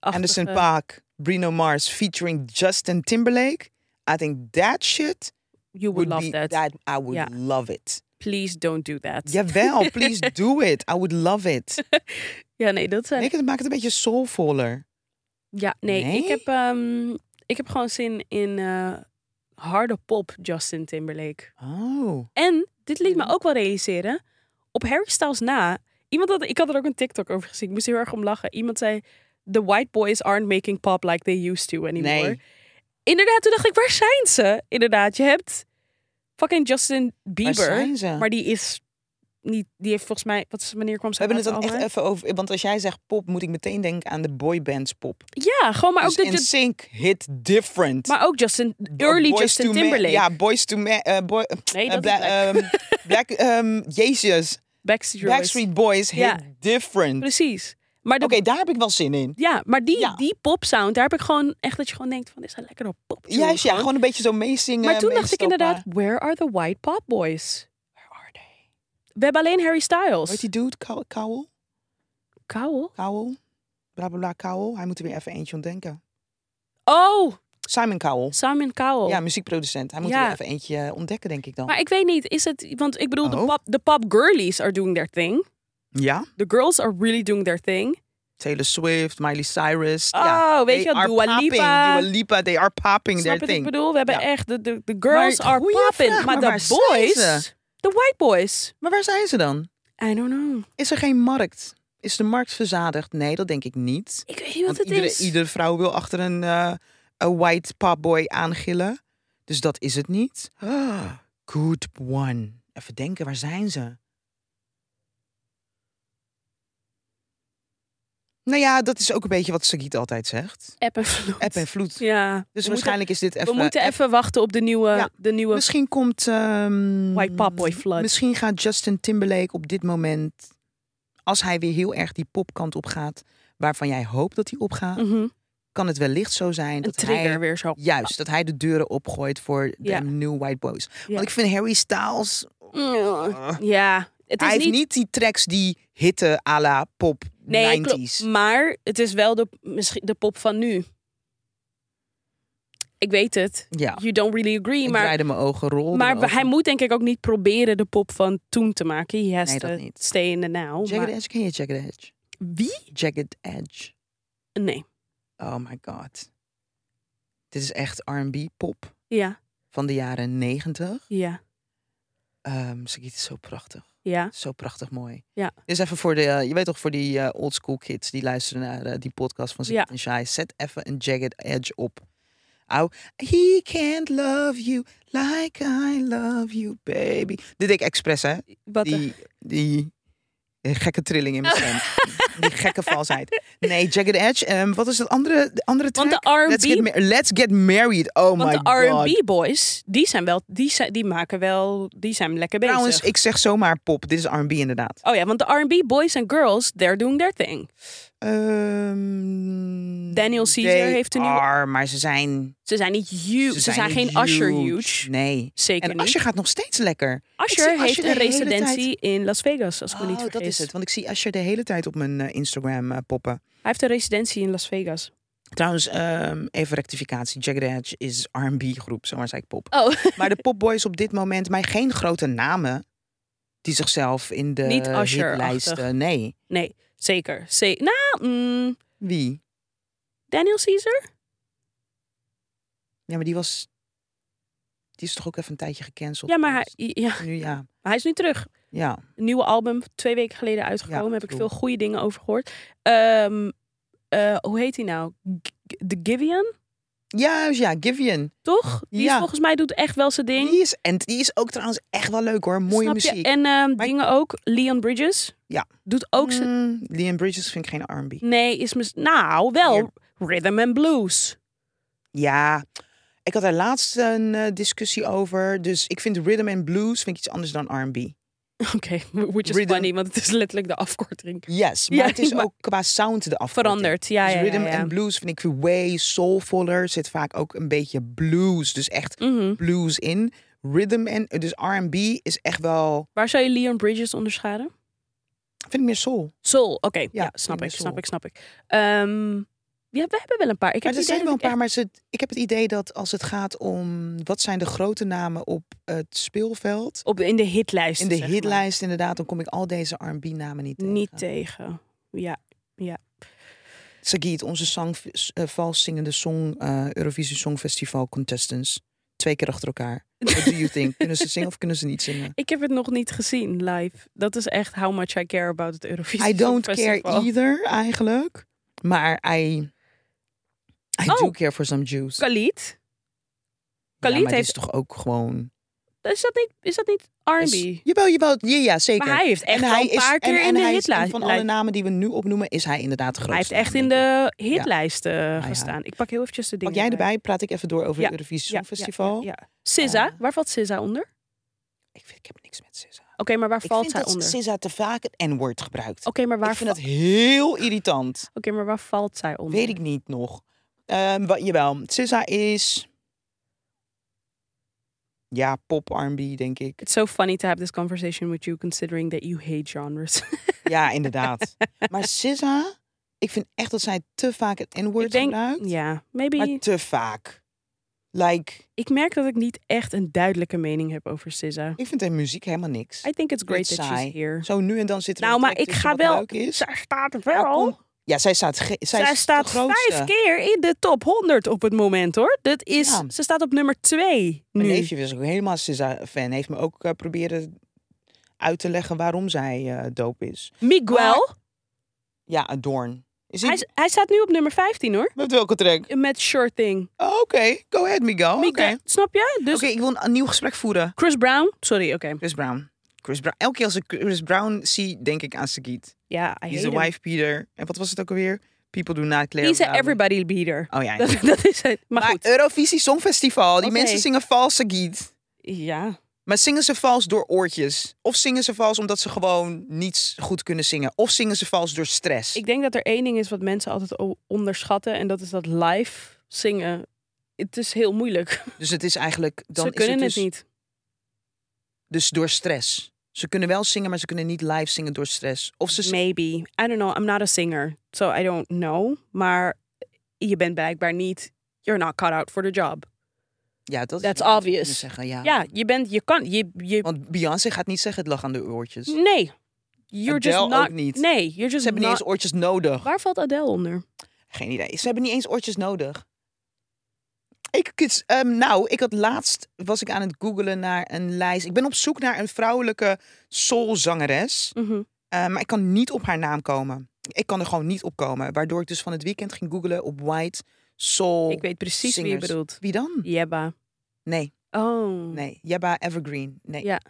A: Anderson
B: Achtige-
A: Paak, Bruno Mars featuring Justin Timberlake. I think that shit
B: You would
A: would be
B: love that.
A: I would
B: Ja.
A: love it.
B: Please don't do that. Ja,
A: Jawel, please do it. I would love it.
B: nee, dat zijn.
A: Nee, het maakt het een beetje soulvoller.
B: Ja, nee,
A: Nee?
B: Ik, heb, ehm, ik heb gewoon zin in eh, harde pop Justin Timberlake.
A: Oh.
B: En dit liet me ook wel realiseren. Op Harry Styles na, iemand had, ik had er ook een TikTok over gezien. Ik moest er heel erg om lachen. Iemand zei: The white boys aren't making pop like they used to anymore.
A: Nee.
B: Inderdaad, toen dacht ik: waar zijn ze? Inderdaad, je hebt fucking Justin
A: Waar
B: Bieber,
A: zijn ze?
B: maar die is niet, die heeft volgens mij, wat is wanneer kwam
A: we
B: ze?
A: hebben het
B: laatste
A: dan echt
B: album uit?
A: even over. Want als jij zegt pop, moet ik meteen denken aan de boybands pop.
B: Ja, gewoon maar ook
A: dus
B: dat Ju-
A: NSYNC hit different.
B: maar ook Justin, early
A: Boyz
B: Justin
A: to Men-
B: Timberlake.
A: Ja, Boys to Men. eh, boy,
B: Nee,
A: eh,
B: dat is
A: Bla-
B: Black.
A: ehm, Black, ehm, Jezus.
B: Backstreet Boys.
A: Backstreet Boys hit
B: Ja.
A: different. Oké,
B: Precies. Maar de,
A: daar heb ik wel zin in.
B: ja, maar die,
A: Ja.
B: die popsound, daar heb ik gewoon echt dat je gewoon denkt van, dit is een lekkere pop.
A: Juist, ja, gewoon eh, een beetje zo meezingen.
B: Maar toen dacht ik
A: meestoppen.
B: inderdaad, where are the white pop boys?
A: Where are they?
B: We hebben alleen Harry
A: Hoe heet
B: Styles.
A: die dude? Cow- Cowell?
B: Cowell?
A: Cowell? Bla bla bla, Cowell. Hij moet er weer even eentje ontdenken.
B: Oh,
A: Simon Cowell.
B: Simon Cowell.
A: Ja, muziekproducent. Hij moet er
B: Oh. Ja.
A: weer even eentje eh, ontdekken, denk ik dan.
B: Maar ik weet niet, is het... Want ik bedoel, de,
A: Oh.
B: pop, de pop girlies are doing their thing.
A: Ja?
B: The girls are really doing their thing.
A: Taylor Swift, Miley Cyrus.
B: Oh,
A: ja.
B: weet je
A: They
B: wat?
A: are
B: Dua
A: popping.
B: Lipa.
A: Dua Lipa, they are popping
B: Snap
A: their
B: je wat
A: thing.
B: ik bedoel? We hebben
A: Ja.
B: echt... De, de, de girls
A: Maar-
B: are
A: goeie
B: popping.
A: vraag,
B: maar
A: maar waar
B: de
A: zijn
B: boys...
A: ze?
B: De white boys.
A: Maar waar zijn ze dan?
B: I don't know.
A: Is er geen markt? Is de markt verzadigd? Nee, dat denk ik niet.
B: Ik weet niet wat
A: Want
B: het
A: iedere,
B: is.
A: iedere vrouw wil achter een, eh, een white popboy aangillen. Dus dat is het niet. Ah, Good one. Even denken, waar zijn ze? Nou ja, dat is ook een beetje wat Sagiet altijd zegt.
B: App en vloed.
A: App en vloed.
B: Ja.
A: Dus
B: we moeten-
A: waarschijnlijk is dit even...
B: we moeten
A: app-
B: even wachten op de nieuwe...
A: Ja. Dus-
B: De nieuwe
A: Misschien komt... ehm,
B: White Popboy Flood.
A: Misschien gaat Justin Timberlake op dit moment... Als hij weer heel erg die popkant op gaat... waarvan jij hoopt dat hij opgaat...
B: Mhm.
A: kan het wellicht zo zijn
B: Een
A: dat
B: trigger
A: hij...
B: weer zo.
A: Juist, dat hij de deuren opgooit voor de
B: Ja.
A: new white boys.
B: Ja. Mm.
A: Want ik vind Harry Styles... eh,
B: Ja, het
A: hij
B: is
A: heeft
B: niet...
A: niet die tracks die hitten à la pop
B: Nee,
A: 90s.
B: klopt. Maar het is wel de, misschien de pop van nu. Ik weet het.
A: Ja,
B: You don't really agree,
A: ik
B: maar...
A: draaide mijn ogen rol.
B: Maar hij moet denk ik ook niet proberen de pop van toen te maken. He has
A: Nee,
B: to
A: dat niet.
B: stay in the now.
A: Jagged
B: maar-
A: Edge, ken je Jagged Edge?
B: Wie?
A: Jagged Edge.
B: Nee.
A: Oh my god. Dit is echt R&B pop
B: Ja,
A: van de jaren 90.
B: ja,
A: Ehm ze is zo prachtig.
B: ja.
A: Zo prachtig mooi.
B: Ja.
A: Dus even voor de, eh, je weet toch, voor die eh, old school kids die luisteren naar eh, die podcast van Zit
B: Ja.
A: en Shai. Zet even een jagged edge op. Au. He can't love you like I love you, baby. Dit deed ik expres, hè?
B: Wat een-
A: Die, oh die gekke trilling in mijn stem. die gekke valsheid. Nee, Jagged Edge. ehm, wat is dat andere, de andere track?
B: Want de
A: Let's get,
B: R&B
A: ma- let's get married. Oh my
B: Want
A: god.
B: de R&B boys, die zijn wel, die, zijn, die maken wel, die zijn lekker bezig.
A: Trouwens, ik zeg zomaar pop. Dit is R&B inderdaad.
B: Oh ja, want de R&B boys en girls, they're doing their thing.
A: Ehm,
B: Daniel Caesar
A: they
B: heeft een nieuwe-
A: are, maar ze zijn...
B: Ze zijn niet huge, ze zijn,
A: niet
B: geen Usher huge.
A: Nee.
B: Zeker
A: En
B: niet.
A: Asher gaat nog steeds lekker.
B: Asher
A: Ik zie
B: heeft
A: de
B: een
A: hele tijd-
B: residentie in Las Vegas, als ik me niet
A: Oh,
B: vergis.
A: dat is het. Want ik zie Asher de hele tijd op mijn eh, Instagram eh, poppen.
B: Hij heeft een residentie in Las Vegas.
A: Trouwens, ehm, even rectificatie. Jagged Edge is R&B groep, zomaar zei ik pop.
B: Oh,
A: Maar de popboys op dit moment, mij geen grote namen die zichzelf in de
B: Niet Usher-achtig.
A: hitlijsten... Nee.
B: nee, zeker. Ze nou, mm,
A: Wie?
B: Daniel Caesar?
A: Ja, maar die was... Die is toch ook even een tijdje gecanceld?
B: Ja, maar hij,
A: geweest?
B: ja,
A: Nu ja.
B: maar hij is nu terug.
A: Ja.
B: Een nieuwe album, twee weken geleden uitgekomen. heb ik
A: true.
B: veel goede dingen over gehoord. Ehm, eh, hoe heet hij nou? G- De Givian,
A: Ja, ja, Givian.
B: toch? Die is
A: Ja.
B: volgens mij doet echt wel zijn ding.
A: Die is, en die is ook trouwens echt wel leuk hoor. Mooie
B: Snap je?
A: muziek.
B: En ehm,
A: Maar-
B: dingen ook. Leon Bridges.
A: Ja.
B: Doet ook zijn...
A: Mm, Liam Bridges vind ik geen R&B.
B: Nee, is mis... Nou, wel.
A: Meer-
B: Rhythm and Blues.
A: Ja, ik had daar laatst een eh, discussie over. Dus ik vind rhythm en blues vind ik iets anders dan R&B.
B: Oké, which is
A: Rhythm-
B: funny, want het is letterlijk de afkorting.
A: Yes, maar
B: Ja,
A: het is
B: maar-
A: ook qua sound de afkorting.
B: Veranderd, ja,
A: Dus
B: ja,
A: rhythm
B: ja, ja.
A: en blues vind ik way soulvoller. Zit vaak ook een beetje blues, dus echt
B: Mhm.
A: blues in. Rhythm en dus R&B is echt wel
B: Waar zou je Leon Bridges onderscheiden?
A: vind ik meer soul.
B: Soul, oké. Ja,
A: Ja,
B: snap,
A: in de
B: ik, snap
A: soul.
B: ik, snap ik, Ehm, Ja, we hebben wel een paar. Ik heb
A: Maar er
B: het idee
A: zijn wel een
B: dat ik
A: paar, maar ze, ik heb het idee dat als het gaat om wat zijn de grote namen op het speelveld.
B: echt op, in de hitlijst.
A: In de
B: zeg maar,
A: hitlijst inderdaad, dan kom ik al deze R&B-namen niet tegen.
B: Niet tegen. Ja,
A: Sagiet, onze zang, eh, vals zingende song, eh, Eurovisie Songfestival contestants. Twee keer achter elkaar. What do you think? kunnen ze zingen of kunnen ze niet zingen?
B: ik heb het nog niet gezien live. Dat is echt how much I care about het Eurovisie
A: I don't care
B: Songfestival.
A: either, eigenlijk. Maar I, I do
B: Oh.
A: care for some juice.
B: Khalid?
A: Ja,
B: Khalid
A: maar die
B: heeft...
A: is toch ook gewoon...
B: Is dat niet, is dat niet R&B?
A: Is- Jawel, jawel. Ja, ja, zeker.
B: maar hij heeft echt wel een paar keer in
A: hij
B: de
A: is- en
B: hitlijst.
A: van alle namen die we nu opnoemen, is hij inderdaad de
B: Hij heeft
A: grootste.
B: echt in
A: denk ik. Ah,
B: de hitlijsten
A: ja.
B: gestaan. Ik pak heel eventjes de dingen
A: Pak jij
B: erbij.
A: erbij, praat ik even door over
B: Ja,
A: het Eurovisie
B: Ja, ja,
A: Songfestival.
B: Ja, ja. SZA,
A: Eh.
B: waar valt SZA onder? Oké,
A: Ik, vind, ik heb niks met SZA.
B: maar waar
A: Ik
B: valt
A: vind
B: zij
A: dat
B: onder? Oké,
A: SZA te vaak het N-woord gebruikt.
B: maar
A: ik
B: waar
A: vind
B: va-
A: dat heel irritant.
B: Oké, maar waar valt zij onder?
A: Weet ik niet nog. Ehm wa- jawel, SZA is... Ja, pop R&B, denk ik.
B: It's so funny to have this conversation with you considering that you hate genres.
A: Ja, inderdaad. maar SZA, ik vind echt dat zij te vaak het
B: ik
A: N-woord
B: denk,
A: gebruikt.
B: ja, maybe.
A: Maar te vaak. Like,
B: ik merk dat ik niet echt een duidelijke mening heb over SZA.
A: ik vind haar muziek helemaal niks.
B: I think it's great
A: Dit
B: that
A: saai.
B: she's here.
A: Zo nu en dan zit er
B: Nou,
A: een
B: maar
A: track
B: ik
A: tussen
B: ga
A: wat
B: wel-
A: leuk is.
B: Zij staat er
A: Maar
B: wel.
A: kom. Ja, zij staat, ge- zij
B: Zij
A: is
B: staat
A: de grootste.
B: vijf keer in de top 100 op het moment hoor. Dat is,
A: Ja.
B: Ze staat op nummer 2 nu.
A: Mijn neefje was ook helemaal SZA-fan. Heeft me ook eh, proberen uit te leggen waarom zij eh, dope is.
B: Miguel,
A: Maar- Ja, Adorn. Is hij...
B: hij, hij staat nu op nummer 15 hoor.
A: Met welke track?
B: Met Sure Thing.
A: Oh, Oké, go ahead, Miguel. Oh, Oké,
B: Miguel, snap je? Dus
A: Oké, ik wil een, een nieuw gesprek voeren.
B: Chris Brown, sorry, oké.
A: Chris Brown. Chris Brown. Elke keer als ik Chris Brown zie, denk ik aan Sagiet.
B: Ja, I
A: He's
B: hate
A: the
B: him.
A: wife Peter. En wat was het ook alweer? People do not care.
B: He's a
A: about me.
B: everybody beater.
A: Oh ja. ja.
B: Dat, dat is het. Maar,
A: Maar eh,
B: goed.
A: Eurovisie Songfestival. Die
B: Oké.
A: mensen zingen vals Sagiet.
B: ja.
A: Maar zingen ze vals door oortjes? Of zingen ze vals omdat ze gewoon niet goed kunnen zingen? Of zingen ze vals door stress?
B: Ik denk dat er één ding is wat mensen altijd o- onderschatten. En dat is dat live zingen. Het is heel moeilijk.
A: Dus het is eigenlijk... Dan
B: Ze
A: is
B: kunnen het,
A: dus,
B: niet.
A: Dus door stress. Ze kunnen wel zingen, maar ze kunnen niet live zingen door stress. Of ze...
B: Maybe. I don't know. I'm not a singer. So I don't know. Maar je bent blijkbaar niet... You're not cut out for the job.
A: Ja, dat
B: That's
A: is wat we
B: obvious.
A: kunnen Zeggen, ja.
B: Ja, je bent... Je kan... Je, je,
A: Want Beyoncé gaat niet zeggen het lag aan de oortjes. Ze
B: nee. You're
A: Adele
B: just not...
A: ook niet.
B: Nee. You're just
A: hebben niet
B: not...
A: eens oortjes nodig.
B: Waar valt Adele onder?
A: Geen idee. Ze hebben niet eens oortjes nodig. Ik, kies- ehm, nou, ik had laatst was ik aan het googelen naar een lijst. Ik ben op zoek naar een vrouwelijke soulzangeres.
B: Mhm.
A: Eh, maar ik kan niet op haar naam komen. Ik kan er gewoon niet op komen. Waardoor ik dus van het weekend ging googelen op White Soul.
B: Ik weet precies wie je
A: Zingers.
B: bedoelt.
A: Wie dan?
B: Jebba.
A: Nee,
B: Oh.
A: nee. Jabba Evergreen. Nee.
B: Ja.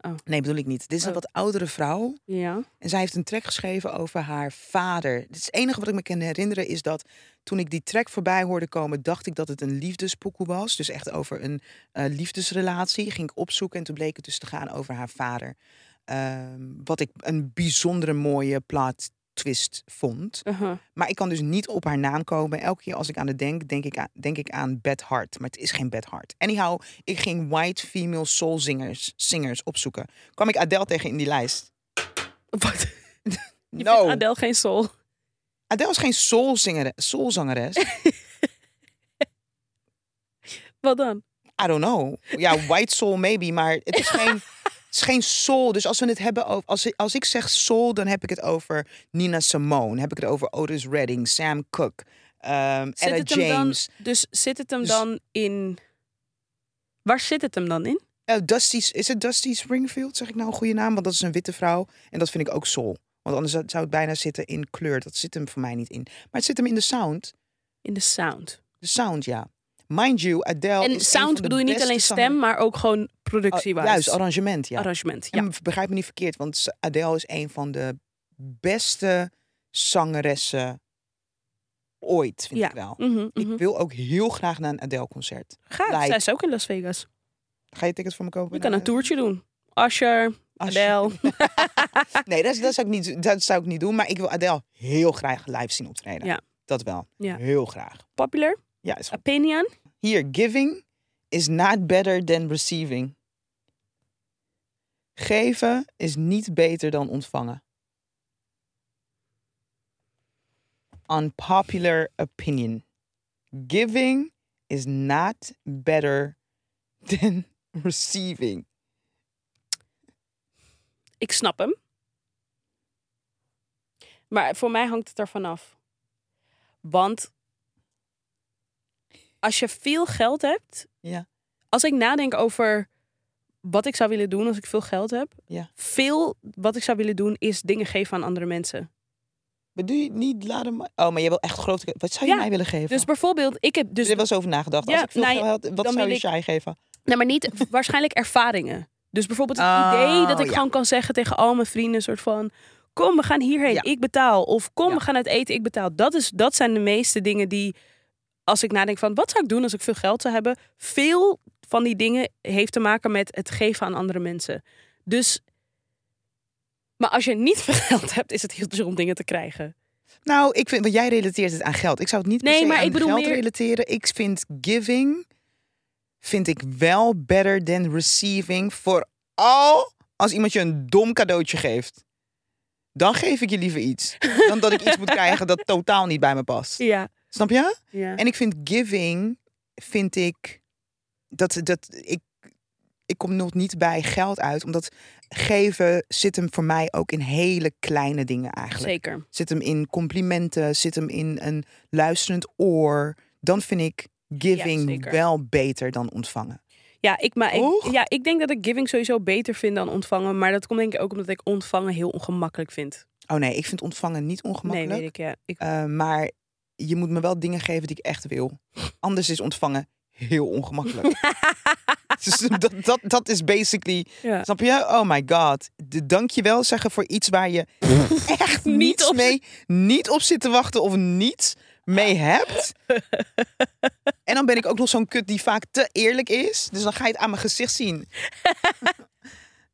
B: Oh.
A: Nee, bedoel ik niet. Dit is een
B: Oh.
A: wat oudere vrouw.
B: Ja.
A: En zij heeft een track geschreven over haar vader. Het, is het enige wat ik me kan herinneren is dat toen ik die track voorbij hoorde komen, dacht ik dat het een liefdespokoe was. Dus echt over een eh, liefdesrelatie. Ging ik opzoeken en toen bleek het dus te gaan over haar vader. Ehm, wat ik een bijzondere mooie plot twist vond.
B: Uh-huh.
A: Maar ik kan dus niet op haar naam komen. Elke keer als ik aan het denk, denk ik aan, denk ik aan Beth Hart. Maar het is geen Beth Hart. Anyhow, ik ging white female soul zingers, singers opzoeken. Kwam ik Adele tegen in die lijst?
B: Wat? Je
A: no.
B: vindt Adele geen soul.
A: Adele is geen soulzangeres. soulzangeres.
B: Wat dan?
A: I don't know. Ja, white soul maybe, maar het is geen, het is geen soul. Dus als we het hebben over... Als, ik- als ik zeg soul, dan heb ik het over Nina Simone. Heb ik het over Otis Redding, Sam Cooke, ehm
B: Zit
A: Etta
B: het hem dan,
A: James.
B: dus zit het hem
A: Dus-
B: dan in... Waar zit het hem dan in?
A: Eh, Dusty, is het Dusty Springfield? Zeg ik nou een goede naam? Want dat is een witte vrouw. En dat vind ik ook soul. Want anders zou zou het bijna zitten in kleur. Dat zit hem voor mij niet in. Maar het zit hem in de sound.
B: In de sound.
A: De sound, ja. Mind you, Adele is
B: en
A: een van
B: sound
A: de
B: bedoel je niet
A: beste
B: alleen
A: zangeres-
B: stem, maar ook gewoon productiewijs.
A: Ah, Juist, arrangement, ja.
B: Arrangement, ja.
A: En begrijp me niet verkeerd, want ze- Adele is een van de beste zangeressen ooit, vind
B: Ja.
A: ik wel.
B: Mhm, mhm.
A: Ik wil ook heel graag naar een Adele-concert.
B: Gaat,
A: like-
B: zij is ook in Las Vegas.
A: Ga je tickets voor me kopen?
B: Je kan
A: Nou,
B: een toertje doen. Asher,
A: als je-
B: Adele.
A: Nee, dat, dat, zou ik niet, dat zou ik niet doen, maar ik wil Adele heel graag live zien optreden.
B: Ja.
A: Dat wel.
B: Ja.
A: Heel graag.
B: Popular,
A: Ja, is goed.
B: Opinion.
A: Hier, giving is not better than receiving. Geven is niet beter dan ontvangen. unpopular opinion. Giving is not better than receiving.
B: Ik snap hem. Maar voor mij hangt het ervan af. Want als je veel geld hebt.
A: Ja.
B: Als ik nadenk over wat ik zou willen doen als ik veel geld heb.
A: Ja.
B: Veel wat ik zou willen doen is dingen geven aan andere mensen.
A: Maar doe je niet laten... ma- Oh, maar je wil echt grote... Wat zou je
B: Ja,
A: mij willen geven?
B: Dus bijvoorbeeld, ik heb
A: Dus
B: dus.
A: er was over nagedacht.
B: Ja,
A: Als ik veel
B: nou ja,
A: geld had, wat
B: dan
A: zou
B: wil
A: je
B: ik-
A: Shai geven?
B: Nou, maar niet waarschijnlijk ervaringen. Dus bijvoorbeeld het
A: Oh,
B: idee dat ik
A: ja.
B: gewoon kan zeggen tegen al mijn vrienden: een soort van. Kom, we gaan hierheen,
A: Ja.
B: ik betaal. Of kom,
A: Ja.
B: we gaan uit eten, ik betaal. Dat, is, dat zijn de meeste dingen die, als ik nadenk van wat zou ik doen als ik veel geld zou hebben, veel van die dingen heeft te maken met het geven aan andere mensen. Dus, maar als je niet veel geld hebt, is het heel duur om dingen te krijgen.
A: Nou, ik vind... Want jij relateert het aan geld. Ik zou het niet per
B: Nee,
A: se
B: maar
A: aan
B: ik bedoel
A: geld
B: meer-
A: relateren. Ik vind giving... Vind ik wel better than receiving. Vooral als iemand je een dom cadeautje geeft. Dan geef ik je liever iets. Dan dat ik iets moet krijgen dat totaal niet bij me past.
B: Ja.
A: Snap je?
B: ja.
A: En ik vind giving, vind ik, dat, dat ik, ik kom nog niet bij geld uit. Omdat geven zit hem voor mij ook in hele kleine dingen eigenlijk.
B: Zeker.
A: Zit hem in complimenten, zit hem in een luisterend oor. Dan vind ik
B: Ja,
A: giving
B: zeker.
A: wel beter dan ontvangen.
B: Ja ik, maar ik,
A: Toch?
B: ja, ik denk dat ik giving sowieso beter vind dan ontvangen. Maar dat komt denk ik ook omdat ik ontvangen heel ongemakkelijk vind.
A: Oh nee, ik vind ontvangen niet ongemakkelijk.
B: Nee, weet ik, ja. Ik,
A: Eh, maar je moet me wel dingen geven die ik echt wil. Anders is ontvangen heel ongemakkelijk. dus dat, dat, dat is basically
B: ja.
A: Snap je? Oh my god. De dankjewel zeggen voor iets waar je echt
B: Niet
A: niets
B: op-
A: mee, niet op zit te wachten of niets mee hebt. En dan ben ik ook nog zo'n kut die vaak te eerlijk is. Dus dan ga je het aan mijn gezicht zien.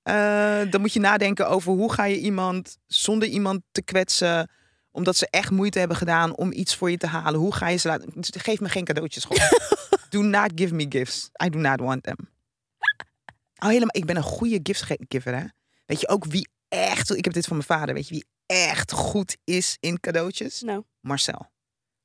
A: Eh, dan moet je nadenken over hoe ga je iemand zonder iemand te kwetsen omdat ze echt moeite hebben gedaan om iets voor je te halen. Hoe ga je ze laten... Geef me geen cadeautjes gewoon. do not give me gifts. I do not want them. Oh, helemaal. Ik ben een goede giftgiver, hè? Weet je ook wie echt... Ik heb dit van mijn vader. Weet je wie echt goed is in cadeautjes?
B: Nou, Oh.
A: Marcel.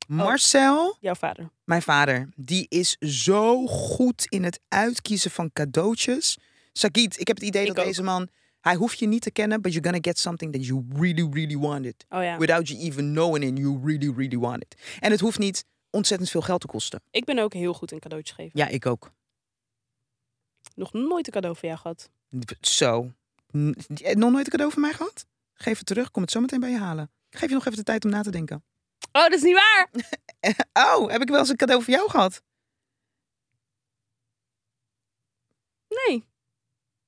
A: Marcel,
B: jouw vader.
A: mijn vader, die is zo goed in het uitkiezen van cadeautjes. Sagit, ik heb het idee
B: Ik
A: dat
B: ook.
A: deze man... Hij hoeft je niet te kennen, but you're gonna get something that you really, really wanted.
B: Oh ja.
A: Without you even knowing and you really, really want it. En het hoeft niet ontzettend veel geld te kosten.
B: Ik ben ook heel goed in cadeautjes geven.
A: Ja, ik ook.
B: Nog nooit een cadeau van jou gehad.
A: Zo. N- eh, Nog nooit een cadeau van mij gehad? Geef het terug, kom het zo meteen bij je halen. Ik Geef je nog even de tijd om na te denken.
B: Oh, dat is niet waar!
A: Oh, heb ik wel eens een cadeau voor jou gehad?
B: Nee.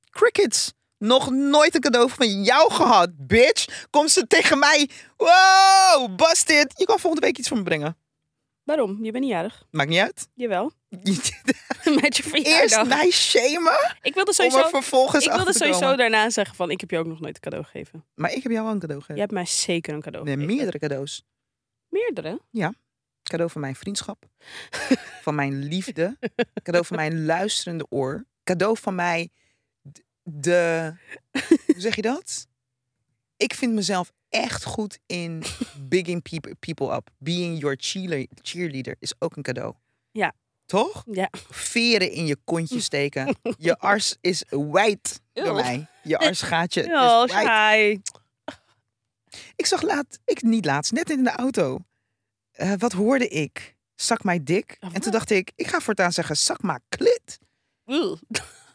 A: Crickets. Nog nooit een cadeau van jou gehad, bitch. Kom ze tegen mij. Wow, busted. Je kan volgende week iets voor me brengen.
B: Waarom? Je bent niet jarig.
A: Maakt niet uit.
B: Jawel. Met
A: Eerst
B: je verjaardag.
A: mij shamen
B: Ik wilde
A: om er
B: sowieso...
A: vervolgens
B: Ik
A: achter
B: wilde
A: te komen.
B: sowieso daarna zeggen van, ik heb je ook nog nooit een cadeau gegeven.
A: Maar ik heb jou wel een cadeau
B: Je
A: gegeven.
B: hebt mij zeker een cadeau
A: Nee,
B: gegeven.
A: meerdere cadeaus.
B: Meerdere?
A: Cadeau van mijn vriendschap. van mijn liefde. Cadeau van mijn luisterende oor. Cadeau van mij d- de... Hoe zeg je dat? Ik vind mezelf echt goed in bigging peop- people up. Being your cheerle- cheerleader is ook een cadeau.
B: Ja.
A: Toch?
B: Ja.
A: Veren in je kontje steken. Je ars is wijd bij
B: Eeuw.
A: mij. Je arsgaatje
B: Oh,
A: is wijd.
B: saai.
A: Ik zag laat, ik niet laatst, net in de auto. Eh, wat hoorde ik? Zak mij dik.
B: Ah,
A: en toen
B: wat?
A: dacht ik, ik ga voortaan zeggen, zak maar klit.
B: Oeh.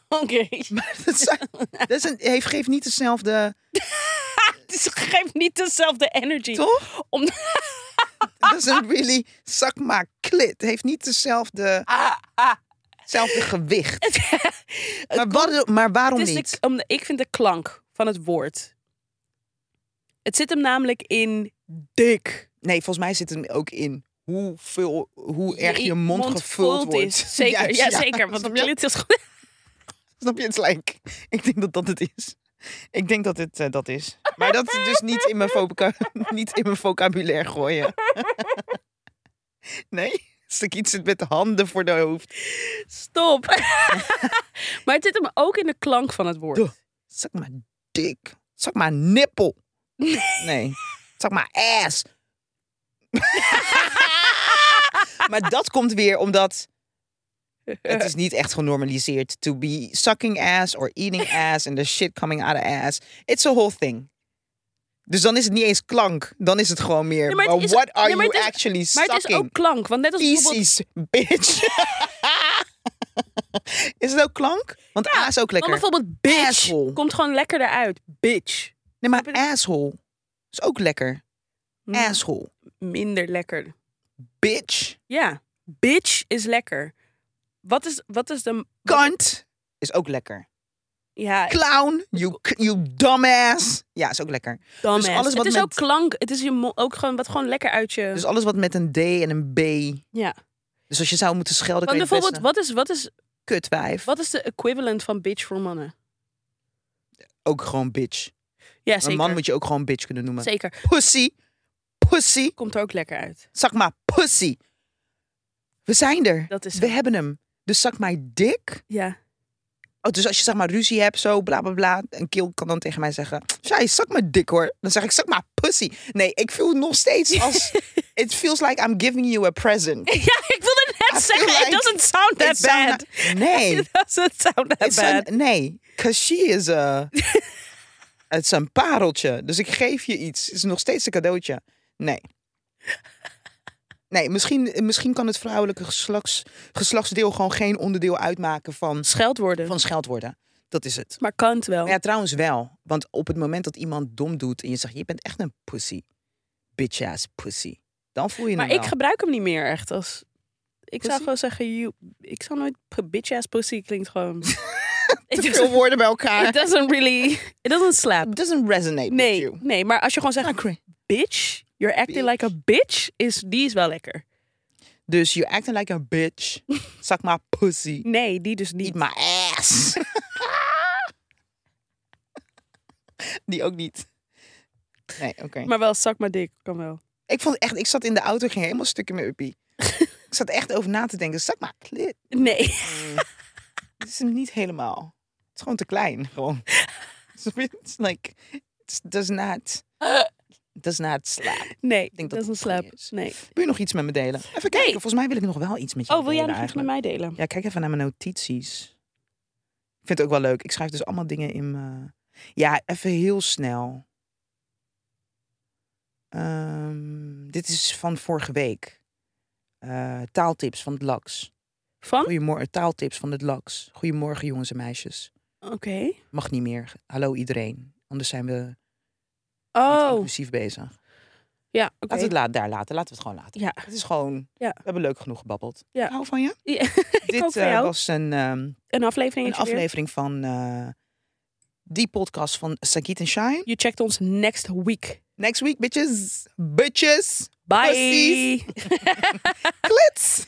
B: Oké.
A: Maar dat, zijn- dat is een, heeft, geeft niet dezelfde,
B: Dus geef niet dezelfde energy.
A: toch?
B: Om-
A: dat is een really, zak maar klit. Heeft niet dezelfde,
B: Ah, ah.
A: hetzelfde gewicht.
B: Het
A: Maar, waar- maar waarom
B: Het is de-
A: niet?
B: om de- ik vind de klank van het woord. Het zit hem namelijk in dik.
A: Nee, volgens mij zit hem ook in hoeveel, hoe erg je
B: Je
A: mond, gevuld
B: vol
A: wordt.
B: Is. Zeker,
A: Juist,
B: ja, zeker. Want
A: Snap
B: het
A: je?
B: is goed.
A: Snap je? Het is like, ik denk dat dat het is. Ik denk dat het eh, dat is. Maar dat is dus niet in mijn, voca- niet in mijn vocabulaire gooien. nee? Stuk iets zit met de handen voor de hoofd.
B: Stop. maar het zit hem ook in de klank van het woord.
A: Doe. Zak maar dik. Zak maar nippel. Nee. Zak maar ass. Maar dat komt weer omdat het is niet echt genormaliseerd to be sucking ass or eating ass and the shit coming out of ass. It's a whole thing. Dus dan is het niet eens klank, dan is het gewoon meer.
B: Ja, maar
A: maar
B: het is-
A: what are
B: ja, maar
A: you
B: het is-
A: actually
B: Maar
A: sucking?
B: het is ook klank. Want net als bijvoorbeeld...
A: Feces, bitch. is het ook klank? Want A is ook
B: Want
A: lekker.
B: bijvoorbeeld bitch
A: Asshole.
B: komt gewoon lekkerder uit. Bitch.
A: Nee, maar
B: Snap je dat?
A: asshole is ook lekker.
B: Hm,
A: Asshole.
B: Minder lekker.
A: Bitch.
B: Ja. Bitch is lekker. Wat is, wat is de...
A: Kant is ook lekker.
B: Ja,
A: Clown. You, k- you dumbass. Ja, is ook lekker.
B: dumbass.
A: dus alles wat
B: het is
A: met-
B: ook klank. Het is je mo- ook gewoon, wat gewoon lekker uit je...
A: Dus alles wat met een D en een B.
B: ja.
A: Dus als je zou moeten schelden, kan
B: Want
A: je bijvoorbeeld
B: bijvoorbeeld, wat is, wat, is,
A: kutwijf.
B: wat is de equivalent van bitch voor mannen?
A: Ook gewoon bitch.
B: Ja, zeker.
A: Een man moet je ook gewoon bitch kunnen noemen.
B: Zeker.
A: Pussy. Pussy.
B: Komt er ook lekker uit.
A: Zak maar pussy. We zijn er.
B: Dat is
A: We hebben hem. Dus zak maar dik.
B: Ja.
A: Oh, dus als je zeg maar ruzie hebt, zo bla bla bla. Een keel kan dan tegen mij zeggen: Shai, zak maar dik hoor. Dan zeg ik: zak maar pussy. Nee, ik voel nog steeds als. It feels like I'm giving you a present.
B: Ja, ik wilde net
A: I
B: zeggen,
A: feel like
B: it doesn't sound that
A: It's wel-
B: bad.
A: Nee.
B: It doesn't sound that
A: It's een-
B: bad.
A: nee, because she is a. Het is een pareltje. Dus ik geef je iets. Het is nog steeds een cadeautje. Nee. Nee, misschien, misschien kan het vrouwelijke geslachts, geslachtsdeel gewoon geen onderdeel uitmaken van,
B: Scheldwoorden.
A: van scheldwoorden. Dat is het.
B: Maar kan het wel.
A: Maar ja, trouwens wel. Want op het moment dat iemand dom doet en je zegt, je bent echt een pussy. Bitch ass pussy. Dan voel je
B: maar
A: hem
B: ik
A: wel.
B: gebruik hem niet meer echt als... Ik zou
A: Pussy?
B: gewoon zeggen, you, ik zou nooit... Bitch ass pussy klinkt gewoon... it,
A: Te veel
B: doesn't,
A: woorden bij elkaar.
B: it doesn't really... It doesn't slap.
A: It doesn't resonate with
B: Nee,
A: you.
B: nee, maar als je gewoon zegt, bitch, you're acting
A: Bitch.
B: like a bitch, is, die is wel lekker.
A: Dus you acting like a bitch. Zak maar pussy.
B: Nee, die dus niet.
A: Eat my ass. Die ook niet. Nee, oké.
B: Maar wel, zak maar dik, kan wel.
A: Ik vond echt, ik zat in de auto, ging helemaal stukken met Uppie. ik zat echt over na te denken, zak maar klit.
B: Nee.
A: Het is hem niet helemaal. Het is gewoon te klein, gewoon. Snap je? It's like, it does not, does not slap.
B: Nee,
A: denk dat
B: dat is een
A: het gewoon
B: slap.
A: niet is.
B: Nee.
A: Wil je nog iets met me delen? Even kijken,
B: Nee.
A: volgens mij wil ik nog wel iets met je
B: Oh, wil jij
A: delen
B: nog iets met
A: eigenlijk.
B: mij delen?
A: Ja, kijk even naar mijn notities. Ik vind het ook wel leuk. Ik schrijf dus allemaal dingen in mijn... Ja, even heel snel. Ehm, dit is van vorige week. Eh, taaltips van het LAX.
B: Van?
A: Goedemorgen, taaltips van het LAX. Goedemorgen jongens en meisjes.
B: Oké.
A: Mag niet meer. Hallo iedereen. Anders zijn we niet
B: Oh,
A: inclusief bezig. Laten
B: ja, oké.
A: we het la- daar laten. Laten we het gewoon laten.
B: Ja.
A: Het is gewoon...
B: Ja.
A: We hebben leuk genoeg gebabbeld.
B: Ja.
A: Ik hou van je.
B: Ja,
A: dit
B: ook van
A: eh,
B: jou.
A: was een... ehm,
B: Een aflevering.
A: een aflevering van eh, die podcast van Sagit en Shine.
B: You checked ons next week.
A: Next week, bitches. Bitches.
B: Bye.
A: Precies. Klits.